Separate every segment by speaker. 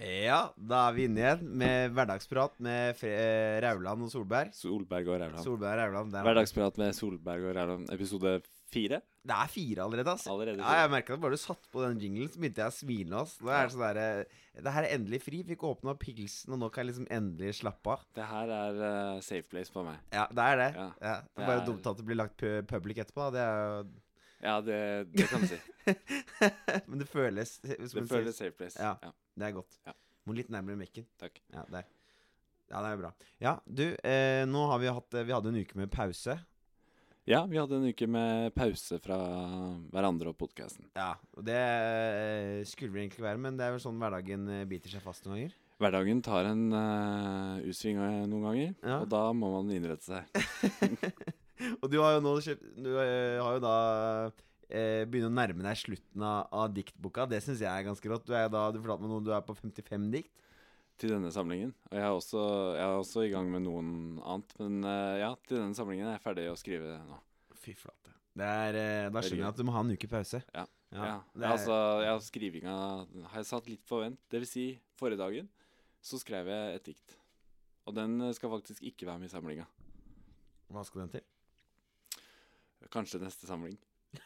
Speaker 1: Ja, da er vi inne igjen med hverdagsprat med Fre eh, Rauland og Solberg.
Speaker 2: Solberg og Rauland.
Speaker 1: Solberg og Rauland. Der.
Speaker 2: Hverdagsprat med Solberg og Rauland, episode fire.
Speaker 1: Det er fire allerede, ass.
Speaker 2: Allerede
Speaker 1: ja,
Speaker 2: fire.
Speaker 1: jeg merket at bare du satt på den jinglen, så begynte jeg å svime. ass Det er det sånn der, eh, Det her er endelig fri. Fikk åpna pilsen, og nå kan jeg liksom endelig slappe av.
Speaker 2: Det her er eh, safe place for meg.
Speaker 1: Ja, det er det. Ja.
Speaker 2: Ja,
Speaker 1: det er bare
Speaker 2: det er-
Speaker 1: dumt at det blir lagt pu- public etterpå. Da. Det er jo
Speaker 2: Ja, det, det kan du si.
Speaker 1: Men det føles eh, som
Speaker 2: Det
Speaker 1: en
Speaker 2: føles safe place.
Speaker 1: Ja.
Speaker 2: Ja,
Speaker 1: Det er godt.
Speaker 2: Ja.
Speaker 1: Må litt nærmere mekken.
Speaker 2: takk.
Speaker 1: Ja, der. Ja, det er jo bra. Ja, du, eh, nå har vi hatt eh, Vi hadde en uke med pause.
Speaker 2: Ja, vi hadde en uke med pause fra hverandre og podkasten.
Speaker 1: Ja, og det eh, skulle vel egentlig være, men det er vel sånn hverdagen eh, biter seg fast noen ganger.
Speaker 2: Hverdagen tar en eh, U-sving eh, noen ganger,
Speaker 1: Ja.
Speaker 2: og da må man innrette seg.
Speaker 1: Og du har jo nå kjøpt Du eh, har jo da eh, begynner å nærme deg slutten av, av diktboka. Det syns jeg er ganske rått. Du er da, du fortalte meg noe, du er på 55 dikt.
Speaker 2: Til denne samlingen. Og jeg er også, jeg er også i gang med noen annet. Men eh, ja, til denne samlingen er jeg ferdig å skrive nå.
Speaker 1: Fy flate. Det er, eh, da skjønner jeg at du må ha en uke pause.
Speaker 2: Ja.
Speaker 1: Ja,
Speaker 2: Ja,
Speaker 1: det er,
Speaker 2: altså, ja, skrivinga har jeg satt litt på vent. Det vil si, forrige dagen så skrev jeg et dikt. Og den eh, skal faktisk ikke være med i samlinga.
Speaker 1: Hva skal den til?
Speaker 2: Kanskje neste samling.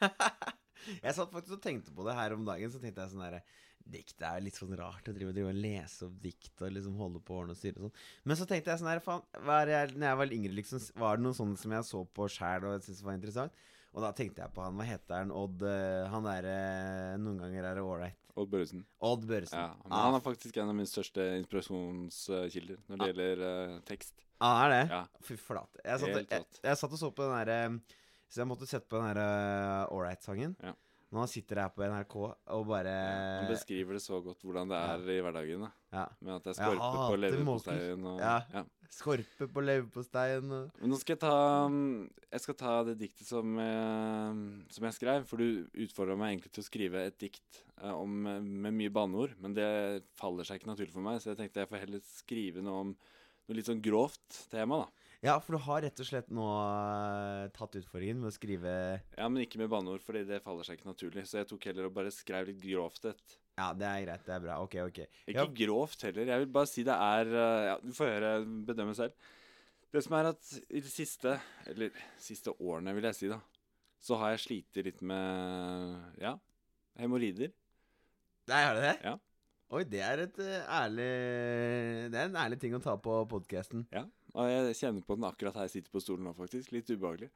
Speaker 1: Jeg satt faktisk og tenkte på det her om dagen. Så tenkte jeg sånn der Dikt er litt sånn rart å drive, drive og lese opp dikt og liksom holde på årene og styre og sånn. Men så tenkte jeg sånn her faen, hva er jeg, Når jeg var yngre, liksom, s- var det noen sånne som jeg så på sjæl og syntes var interessant? Og da tenkte jeg på han, hva heter han, Odd eh, Han derre Noen ganger er det ålreit.
Speaker 2: Odd Børresen.
Speaker 1: Odd Børresen.
Speaker 2: Ja, men
Speaker 1: Ah, Ah.
Speaker 2: han er faktisk en av mine største inspirasjonskilder når det gjelder eh, tekst.
Speaker 1: Han er det?
Speaker 2: Ja.
Speaker 1: Fy flate. Jeg satt,
Speaker 2: Helt
Speaker 1: og- jeg,
Speaker 2: rått.
Speaker 1: jeg satt og så på den derre Så jeg måtte sette på den eh, derre Ålreit-sangen.
Speaker 2: Ja.
Speaker 1: Når han sitter her på NRK og
Speaker 2: Han
Speaker 1: bare
Speaker 2: beskriver det så godt hvordan det er i hverdagen. da
Speaker 1: ja.
Speaker 2: Med at det er
Speaker 1: Jeg
Speaker 2: skorpe på
Speaker 1: hater
Speaker 2: leverposteien og
Speaker 1: Ja.
Speaker 2: ja.
Speaker 1: Skorpe på leverposteien og
Speaker 2: Men nå skal jeg ta mm, Jeg skal ta det diktet som, eh, som jeg skrev. For du utfordra meg egentlig til å skrive et dikt eh, om, eh, med mye banneord. Men det faller seg ikke naturlig for meg, så jeg tenkte jeg får heller skrive noe om noe litt sånn grovt tema. da
Speaker 1: Ja, for du har rett og slett nå eh, tatt utfordringen med å skrive
Speaker 2: Ja, Men ikke med banneord, fordi det faller seg ikke naturlig. Så jeg tok heller og bare skrev litt grovt et
Speaker 1: Ja, det er greit, det er bra. Ok, ok.
Speaker 2: Ikke
Speaker 1: Ja.
Speaker 2: grovt heller. Jeg vil bare si det er eh, ja, Du får høre bedømme selv. Det som er at i de siste, eller siste årene, vil jeg si, da, så har jeg slitt litt med ja, hemoroider.
Speaker 1: Nei, er det det?
Speaker 2: Ja.
Speaker 1: Oi, det er et eh, ærlig Det er en ærlig ting å ta på podkasten.
Speaker 2: Ja. Og jeg kjenner på den akkurat her jeg sitter på stolen nå, faktisk. Litt ubehagelig.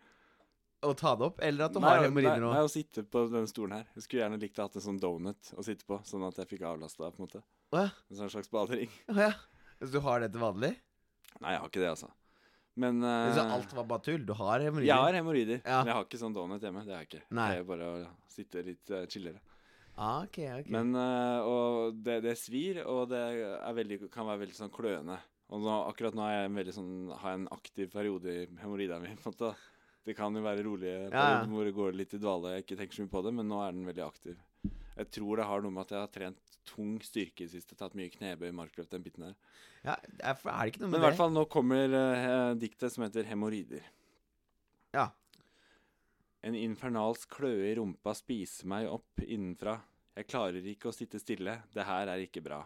Speaker 1: Å ta det opp, eller at du har hemoroider nå?
Speaker 2: Nei, å sitte på denne stolen her. Jeg skulle gjerne likt å ha hatt en sånn donut å sitte på, sånn at jeg fikk avlasta, på en måte.
Speaker 1: Å ja.
Speaker 2: En sånn slags badering.
Speaker 1: Å ja. Så du har det til vanlig?
Speaker 2: Nei, jeg har ikke det, altså. Men eh,
Speaker 1: Så alt var bare tull? Du har hemoroider?
Speaker 2: Jeg har hemoroider,
Speaker 1: Ja.
Speaker 2: men jeg har ikke sånn donut hjemme. Det har jeg ikke.
Speaker 1: Nei.
Speaker 2: Det er bare å sitte litt eh, chillere.
Speaker 1: Ah, ok, ok.
Speaker 2: Men eh, og det, det svir, og det er veldig, kan være veldig sånn kløende. Og nå, akkurat nå har jeg en veldig sånn, har jeg en aktiv periode i hemoroida mi. på en måte. Det kan jo være rolige
Speaker 1: Ja, ja.
Speaker 2: perioder hvor det går litt i dvale. Jeg ikke tenker så mye på det, men nå er den veldig aktiv. Jeg tror det har noe med at jeg har trent tung styrke i det siste. Tatt mye knebøy, markløft, den biten der.
Speaker 1: ja, det er, for er det ikke noe
Speaker 2: Men
Speaker 1: med
Speaker 2: i hvert
Speaker 1: det?
Speaker 2: fall, nå kommer eh, diktet som heter 'Hemoroider'.
Speaker 1: Ja.
Speaker 2: En infernalsk kløe i rumpa spiser meg opp innenfra. Jeg klarer ikke å sitte stille. Det her er ikke bra.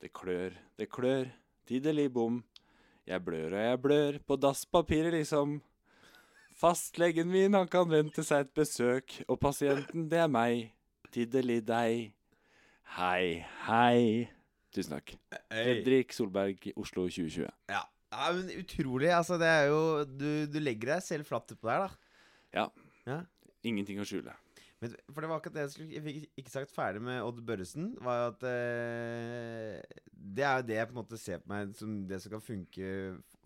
Speaker 2: Det klør, det klør. Tidelig bom. Jeg blør og jeg blør. På dasspapiret, liksom. Fastlegen min, han kan vente seg et besøk. Og pasienten, det er meg. Tidelig deg. Hei, hei. Tusen takk.
Speaker 1: Hey.
Speaker 2: Fredrik Solberg, Oslo 2020.
Speaker 1: Ja. ja, men utrolig. Altså, det er jo Du, du legger deg selv flatt på der, da.
Speaker 2: Ingenting å skjule.
Speaker 1: Men, for det var akkurat det jeg skulle Jeg fikk ikke sagt ferdig med Odd Børresen. Var jo at eh, Det er jo det jeg på en måte ser på meg som det som kan funke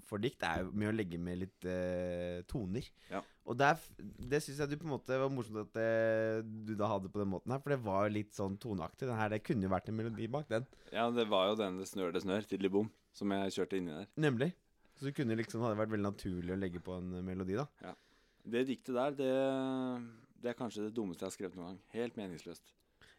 Speaker 1: for dikt, er jo med å legge med litt eh, toner.
Speaker 2: Ja.
Speaker 1: Og der, f- det syns jeg du på en måte var morsomt at eh, du da hadde på den måten her, for det var jo litt sånn toneaktig. Den her, det kunne jo vært en melodi bak den.
Speaker 2: Ja, det var jo den 'Det snør, det snør', tidlig bom, som jeg kjørte inni der.
Speaker 1: Nemlig. Så det kunne liksom hadde vært veldig naturlig å legge på en melodi, da.
Speaker 2: Det diktet der, det, det er kanskje det dummeste jeg har skrevet noen gang. Helt meningsløst.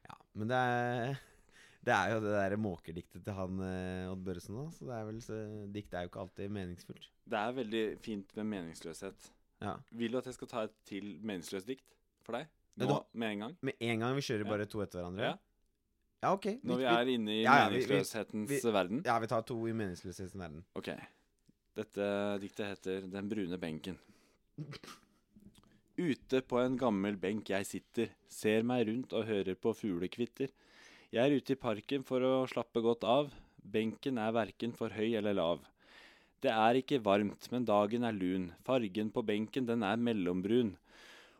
Speaker 1: Ja, Men det er, det er jo det derre måkediktet til han eh, Odd Børresen òg, så det er vel så, dikt er jo ikke alltid meningsfullt.
Speaker 2: Det er veldig fint med meningsløshet.
Speaker 1: Ja.
Speaker 2: Vil du at jeg skal ta et til meningsløst dikt for deg?
Speaker 1: Ja,
Speaker 2: Nå,
Speaker 1: du har-
Speaker 2: med en gang?
Speaker 1: Med en gang vi kjører
Speaker 2: Ja.
Speaker 1: bare to etter hverandre?
Speaker 2: Ja.
Speaker 1: ja ok. Vi,
Speaker 2: Når vi
Speaker 1: vi,
Speaker 2: er inne i
Speaker 1: ja, ja, vi- vi-
Speaker 2: meningsløshetens
Speaker 1: vi-
Speaker 2: verden?
Speaker 1: ja, vi tar to i meningsløshetens verden.
Speaker 2: Ok. Dette diktet heter Den brune benken. Ute på en gammel benk jeg sitter, ser meg rundt og hører på fuglekvitter. Jeg er ute i parken for å slappe godt av. Benken er verken for høy eller lav. Det er ikke varmt, men dagen er lun. Fargen på benken den er mellombrun.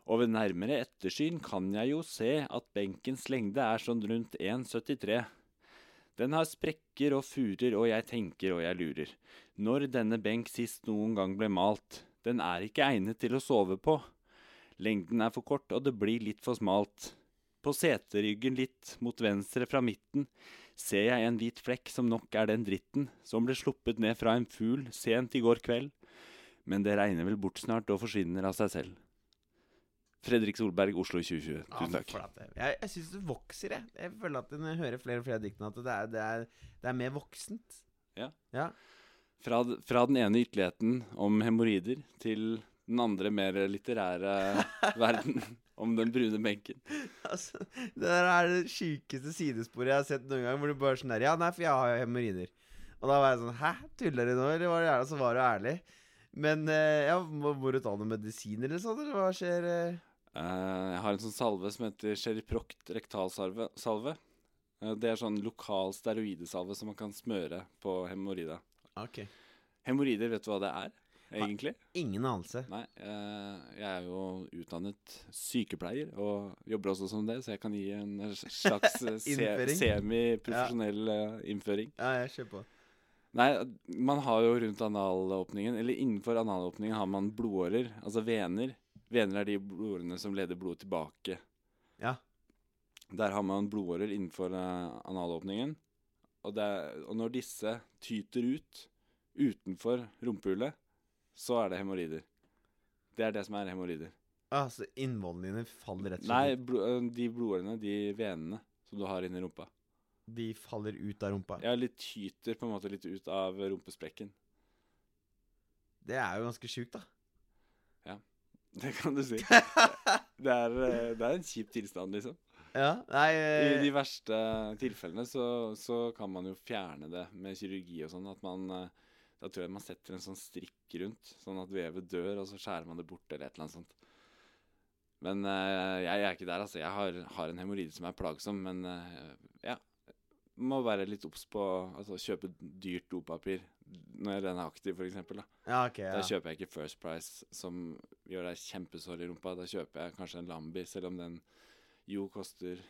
Speaker 2: Og ved nærmere ettersyn kan jeg jo se at benkens lengde er sånn rundt 1,73. Den har sprekker og furer, og jeg tenker og jeg lurer. Når denne benk sist noen gang ble malt, den er ikke egnet til å sove på. Lengden er for kort, og det blir litt for smalt. På seteryggen litt mot venstre fra midten ser jeg en hvit flekk som nok er den dritten som ble sluppet ned fra en fugl sent i går kveld. Men det regner vel bort snart og forsvinner av seg selv. Fredrik Solberg, Oslo 2020.
Speaker 1: Ja,
Speaker 2: Tusen
Speaker 1: men
Speaker 2: takk.
Speaker 1: flate. Jeg, jeg syns det vokser, jeg. Jeg føler at når jeg hører flere og flere av diktene, at det er, det er, det er mer voksent.
Speaker 2: Fra, d- fra den ene ytterligheten om hemoroider til den andre mer litterære verden om den brune benken.
Speaker 1: Altså, det der er det sjukeste sidesporet jeg har sett noen gang, hvor du bare sånn der Ja, nei, for jeg har jo hemoroider. Og da var jeg sånn Hæ, tuller du nå, eller var det ærlig? Og så var du ærlig. Men eh, ja, må, må du ta noe medisin eller sånn, eller hva skjer? eh?
Speaker 2: Eh, jeg har en sånn salve som heter Cheriproct rektalsalve. Salve. Eh, det er sånn lokal steroidesalve som man kan smøre på hemoroida. Hemoroider, vet du hva det er, egentlig?
Speaker 1: Ingen anelse.
Speaker 2: Nei, eh, jeg er jo utdannet sykepleier og jobber også som det, så jeg kan gi en slags eh, se
Speaker 1: Innføring.
Speaker 2: semiprofesjonell eh, innføring.
Speaker 1: Ja, jeg kjører på.
Speaker 2: Nei, man har jo rundt analåpningen, eller innenfor analåpningen har man blodårer, altså vener. Vener er de blodårene som leder blodet tilbake.
Speaker 1: Ja.
Speaker 2: Der har man blodårer innenfor eh, analåpningen, og, det er, og når disse tyter ut utenfor rumpehullet, så er det hemoroider. Det er det som er hemoroider.
Speaker 1: Ah, så innvollene dine faller rett og
Speaker 2: Nei,
Speaker 1: slett ut.
Speaker 2: blo- eh, de blodårene, de venene som du har inni rumpa.
Speaker 1: De faller ut av rumpa.
Speaker 2: Ja, litt tyter på en måte litt ut av rumpesprekken.
Speaker 1: Det er jo ganske sjukt, da.
Speaker 2: Det kan du si. Det er, eh, det er en kjip tilstand, liksom.
Speaker 1: ja, nei
Speaker 2: I
Speaker 1: eh,
Speaker 2: de verste tilfellene så, så kan man jo fjerne det med kirurgi og sånn. At man eh, Da tror jeg man setter en sånn strikk rundt, sånn at vevet dør, og så skjærer man det bort, eller et eller annet sånt. Men eh, jeg, er ikke der, altså. Jeg har, har en hemoroide som er plagsom, men eh, ja. Må være litt obs på altså, kjøpe dyrt dopapir når den er aktiv, f.eks. Da.
Speaker 1: Ja, ok.
Speaker 2: da
Speaker 1: Ja.
Speaker 2: kjøper jeg ikke First Price, som gjør deg kjempesår i rumpa. Da kjøper jeg kanskje en Lambi, selv om den jo koster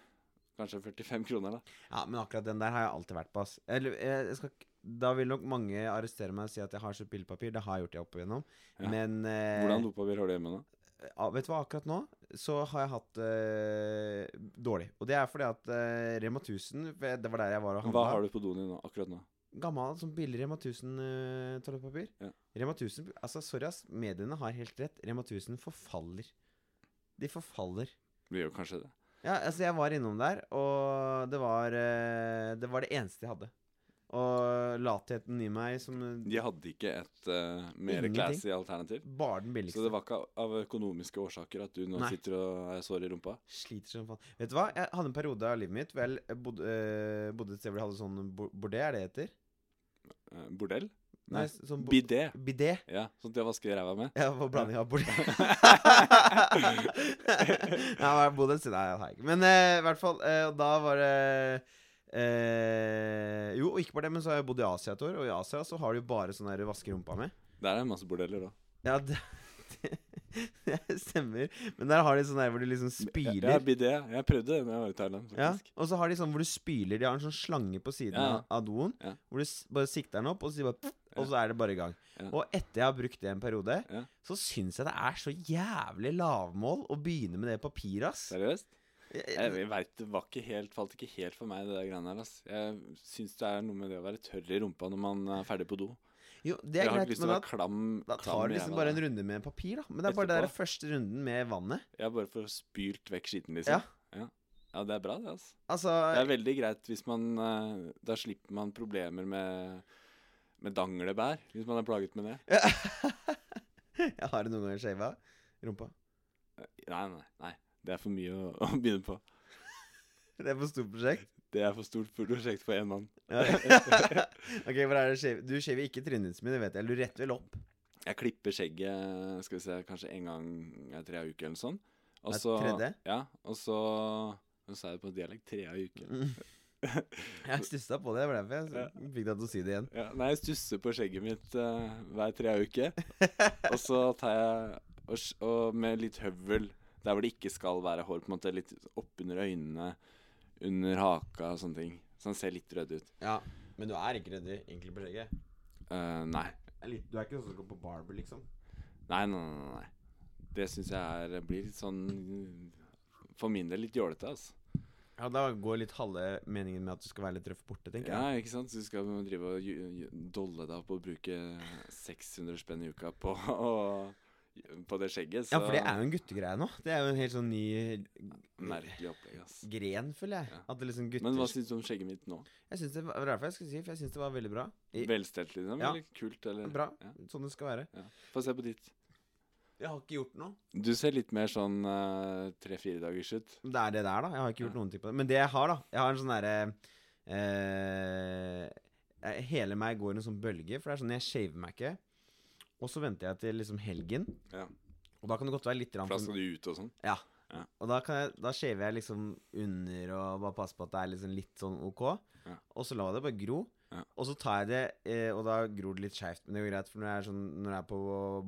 Speaker 2: kanskje 45 kroner, da.
Speaker 1: Ja, men akkurat den der har jeg alltid vært på, ass. Eller, jeg, jeg skal, ikke- da vil nok mange arrestere meg og si at jeg har kjøpt billedpapir. Det har jeg gjort jeg opp igjennom.
Speaker 2: Ja.
Speaker 1: Men eh,
Speaker 2: Hvordan dopapir har du hjemme nå?
Speaker 1: ja, vet du hva, akkurat nå så har jeg hatt eh, dårlig. Og det er fordi at eh, Rema 1000 for jeg- Det var der jeg var og
Speaker 2: Hva har
Speaker 1: handla.
Speaker 2: du på doen din nå, akkurat nå?
Speaker 1: Gammel, sånn billig Rema 1000 eh, toalettpapir.
Speaker 2: Ja.
Speaker 1: Rema 1000 Altså, sorry, ass. Mediene har helt rett. Rema 1000 forfaller. De forfaller.
Speaker 2: Blir jo kanskje det.
Speaker 1: Ja, altså jeg var innom der, og det var eh, Det var det eneste jeg hadde. Og latheten i meg som eh,
Speaker 2: De hadde ikke et eh, mer
Speaker 1: Ingenting.
Speaker 2: classy alternativ.
Speaker 1: bare den
Speaker 2: Så det
Speaker 1: billigste.
Speaker 2: var ikke av økonomiske årsaker at du nå
Speaker 1: Nei.
Speaker 2: sitter og er sår i rumpa?
Speaker 1: Sliter som faen. Vet du hva? Jeg hadde en periode av livet mitt hvor jeg eh, bodde, eh, bodde et sted hvor de hadde sånn bo- bordé, er det det heter?
Speaker 2: Eh, Bordell?
Speaker 1: Nei,
Speaker 2: Nei,
Speaker 1: sånn bo
Speaker 2: Bidé.
Speaker 1: bidé.
Speaker 2: Ja, sånn at jeg vasker ræva med.
Speaker 1: Ja, på blanding av bordé. Nei, jeg bodde et sted Nei, det har jeg ikke. Men eh, i hvert fall, eh, og da var det eh, Jo, og ikke bare det, men så har jeg bodd i Asia et år, og i Asia så har de jo bare sånn der vaske rumpa med.
Speaker 2: Der er det masse bordeller òg.
Speaker 1: Ja, det, det, stemmer. Men der har de sånn der hvor de liksom
Speaker 2: Ja,
Speaker 1: spyler.
Speaker 2: bidé. Jeg prøvde det da jeg var i Thailand,
Speaker 1: Ja,
Speaker 2: faktisk.
Speaker 1: og så har de sånn hvor du spyler. De har en sånn slange på siden
Speaker 2: Ja, ja.
Speaker 1: av- av doen.
Speaker 2: Ja.
Speaker 1: Hvor du s- bare sikter den opp, og så, sier bare, pff,
Speaker 2: Ja.
Speaker 1: og så er det bare i gang.
Speaker 2: Ja.
Speaker 1: Og etter jeg har brukt det en periode,
Speaker 2: Ja.
Speaker 1: så syns jeg det er så jævlig lavmål å begynne med det papiret, ass.
Speaker 2: Seriøst?
Speaker 1: Jeg-
Speaker 2: Jeg,
Speaker 1: jeg-
Speaker 2: jeg vet, det var ikke helt, falt ikke helt for meg, det der greiene her. ass. Jeg syns det er noe med det å være tørr i rumpa når man er ferdig på do.
Speaker 1: Jo, det er
Speaker 2: Jeg har
Speaker 1: greit,
Speaker 2: ikke lyst
Speaker 1: men
Speaker 2: til å
Speaker 1: da,
Speaker 2: være klam.
Speaker 1: da
Speaker 2: klam
Speaker 1: tar du
Speaker 2: i
Speaker 1: liksom
Speaker 2: ræva
Speaker 1: bare
Speaker 2: da.
Speaker 1: en runde med papir, da. Men det er bare den
Speaker 2: Etterpå.
Speaker 1: der første runden med vannet.
Speaker 2: Jeg bare får spylt vekk skitten,
Speaker 1: Ja.
Speaker 2: liksom. Ja. ja. Ja, det er bra, det, altså.
Speaker 1: Altså,
Speaker 2: Det er veldig greit hvis man eh, Da slipper man problemer med, med danglebær, hvis man er plaget med det.
Speaker 1: jeg har noen ganger shava rumpa.
Speaker 2: Nei, nei, nei. Det er for mye å, å begynne på.
Speaker 1: Det er for stort prosjekt.
Speaker 2: Det er for stort prosjekt for én mann.
Speaker 1: Ja. ok, hvor er det shave? Du shaver ikke trynet ditt, men det vet jeg. Du retter vel opp.
Speaker 2: Jeg klipper skjegget skal vi se, kanskje en gang i tre uker eller sånn. Og
Speaker 1: Hver
Speaker 2: så-
Speaker 1: tredje?
Speaker 2: Ja, og så Nå sa jeg det på dialekt. Trea uke.
Speaker 1: Mm. Jeg stussa på det, det var derfor jeg fikk deg til å si det igjen.
Speaker 2: Ja, nei, jeg stusser på skjegget mitt eh, hver trea uke. Og så tar jeg og, s- og med litt høvel der hvor det ikke skal være hår, på en måte litt oppunder øynene, under haka og sånne ting. Så han ser litt rød ut.
Speaker 1: Ja, Men du er ikke ryddig, egentlig, på skjegget.
Speaker 2: Eh, nei.
Speaker 1: Du er ikke sånn som går på barber, liksom?
Speaker 2: Nei, nei, nei. nei. Det syns jeg er, blir litt sånn For min del litt jålete, altså.
Speaker 1: Ja, da går litt halve meningen med at du skal være litt røff borte, tenker jeg.
Speaker 2: Ja, ikke sant? Så du skal drive og ju- ju- dolle deg opp og bruke 600 spenn i uka på, å- på det skjegget. Så
Speaker 1: Ja, for det er jo en guttegreie nå. Det er jo en helt sånn ny
Speaker 2: merkelig opplegg, ass.
Speaker 1: gren, føler jeg.
Speaker 2: Ja.
Speaker 1: At det liksom gutter
Speaker 2: Men hva syns du om skjegget mitt nå?
Speaker 1: Jeg syns det var det var derfor jeg skulle si, for jeg syns det var veldig bra. I,
Speaker 2: Velstelt, liksom?
Speaker 1: Ja.
Speaker 2: Eller kult? Eller?
Speaker 1: Bra.
Speaker 2: Ja.
Speaker 1: Sånn det skal være.
Speaker 2: Ja. Få se på ditt.
Speaker 1: Jeg har ikke gjort noe.
Speaker 2: Du ser litt mer sånn tre-fire dagers ut.
Speaker 1: Det er det der, da. Jeg har ikke gjort
Speaker 2: Ja.
Speaker 1: noen ting på det. Men det jeg har, da Jeg har en sånn derre eh, eh, Hele meg går i en sånn bølge, for det er sånn jeg shaver meg ikke. Og så venter jeg til liksom helgen.
Speaker 2: Ja.
Speaker 1: Og da kan det godt være litt
Speaker 2: For da
Speaker 1: rann,
Speaker 2: skal du ut og sånn.
Speaker 1: Ja.
Speaker 2: Ja.
Speaker 1: Og da, kan jeg, da shaver jeg liksom under og bare passer på at det er liksom litt sånn ok.
Speaker 2: Ja.
Speaker 1: Og så lar jeg det bare gro.
Speaker 2: Ja.
Speaker 1: Og så tar jeg det, eh, og da gror det litt skeivt. Men det er jo greit, for når jeg er, sånn, når jeg er på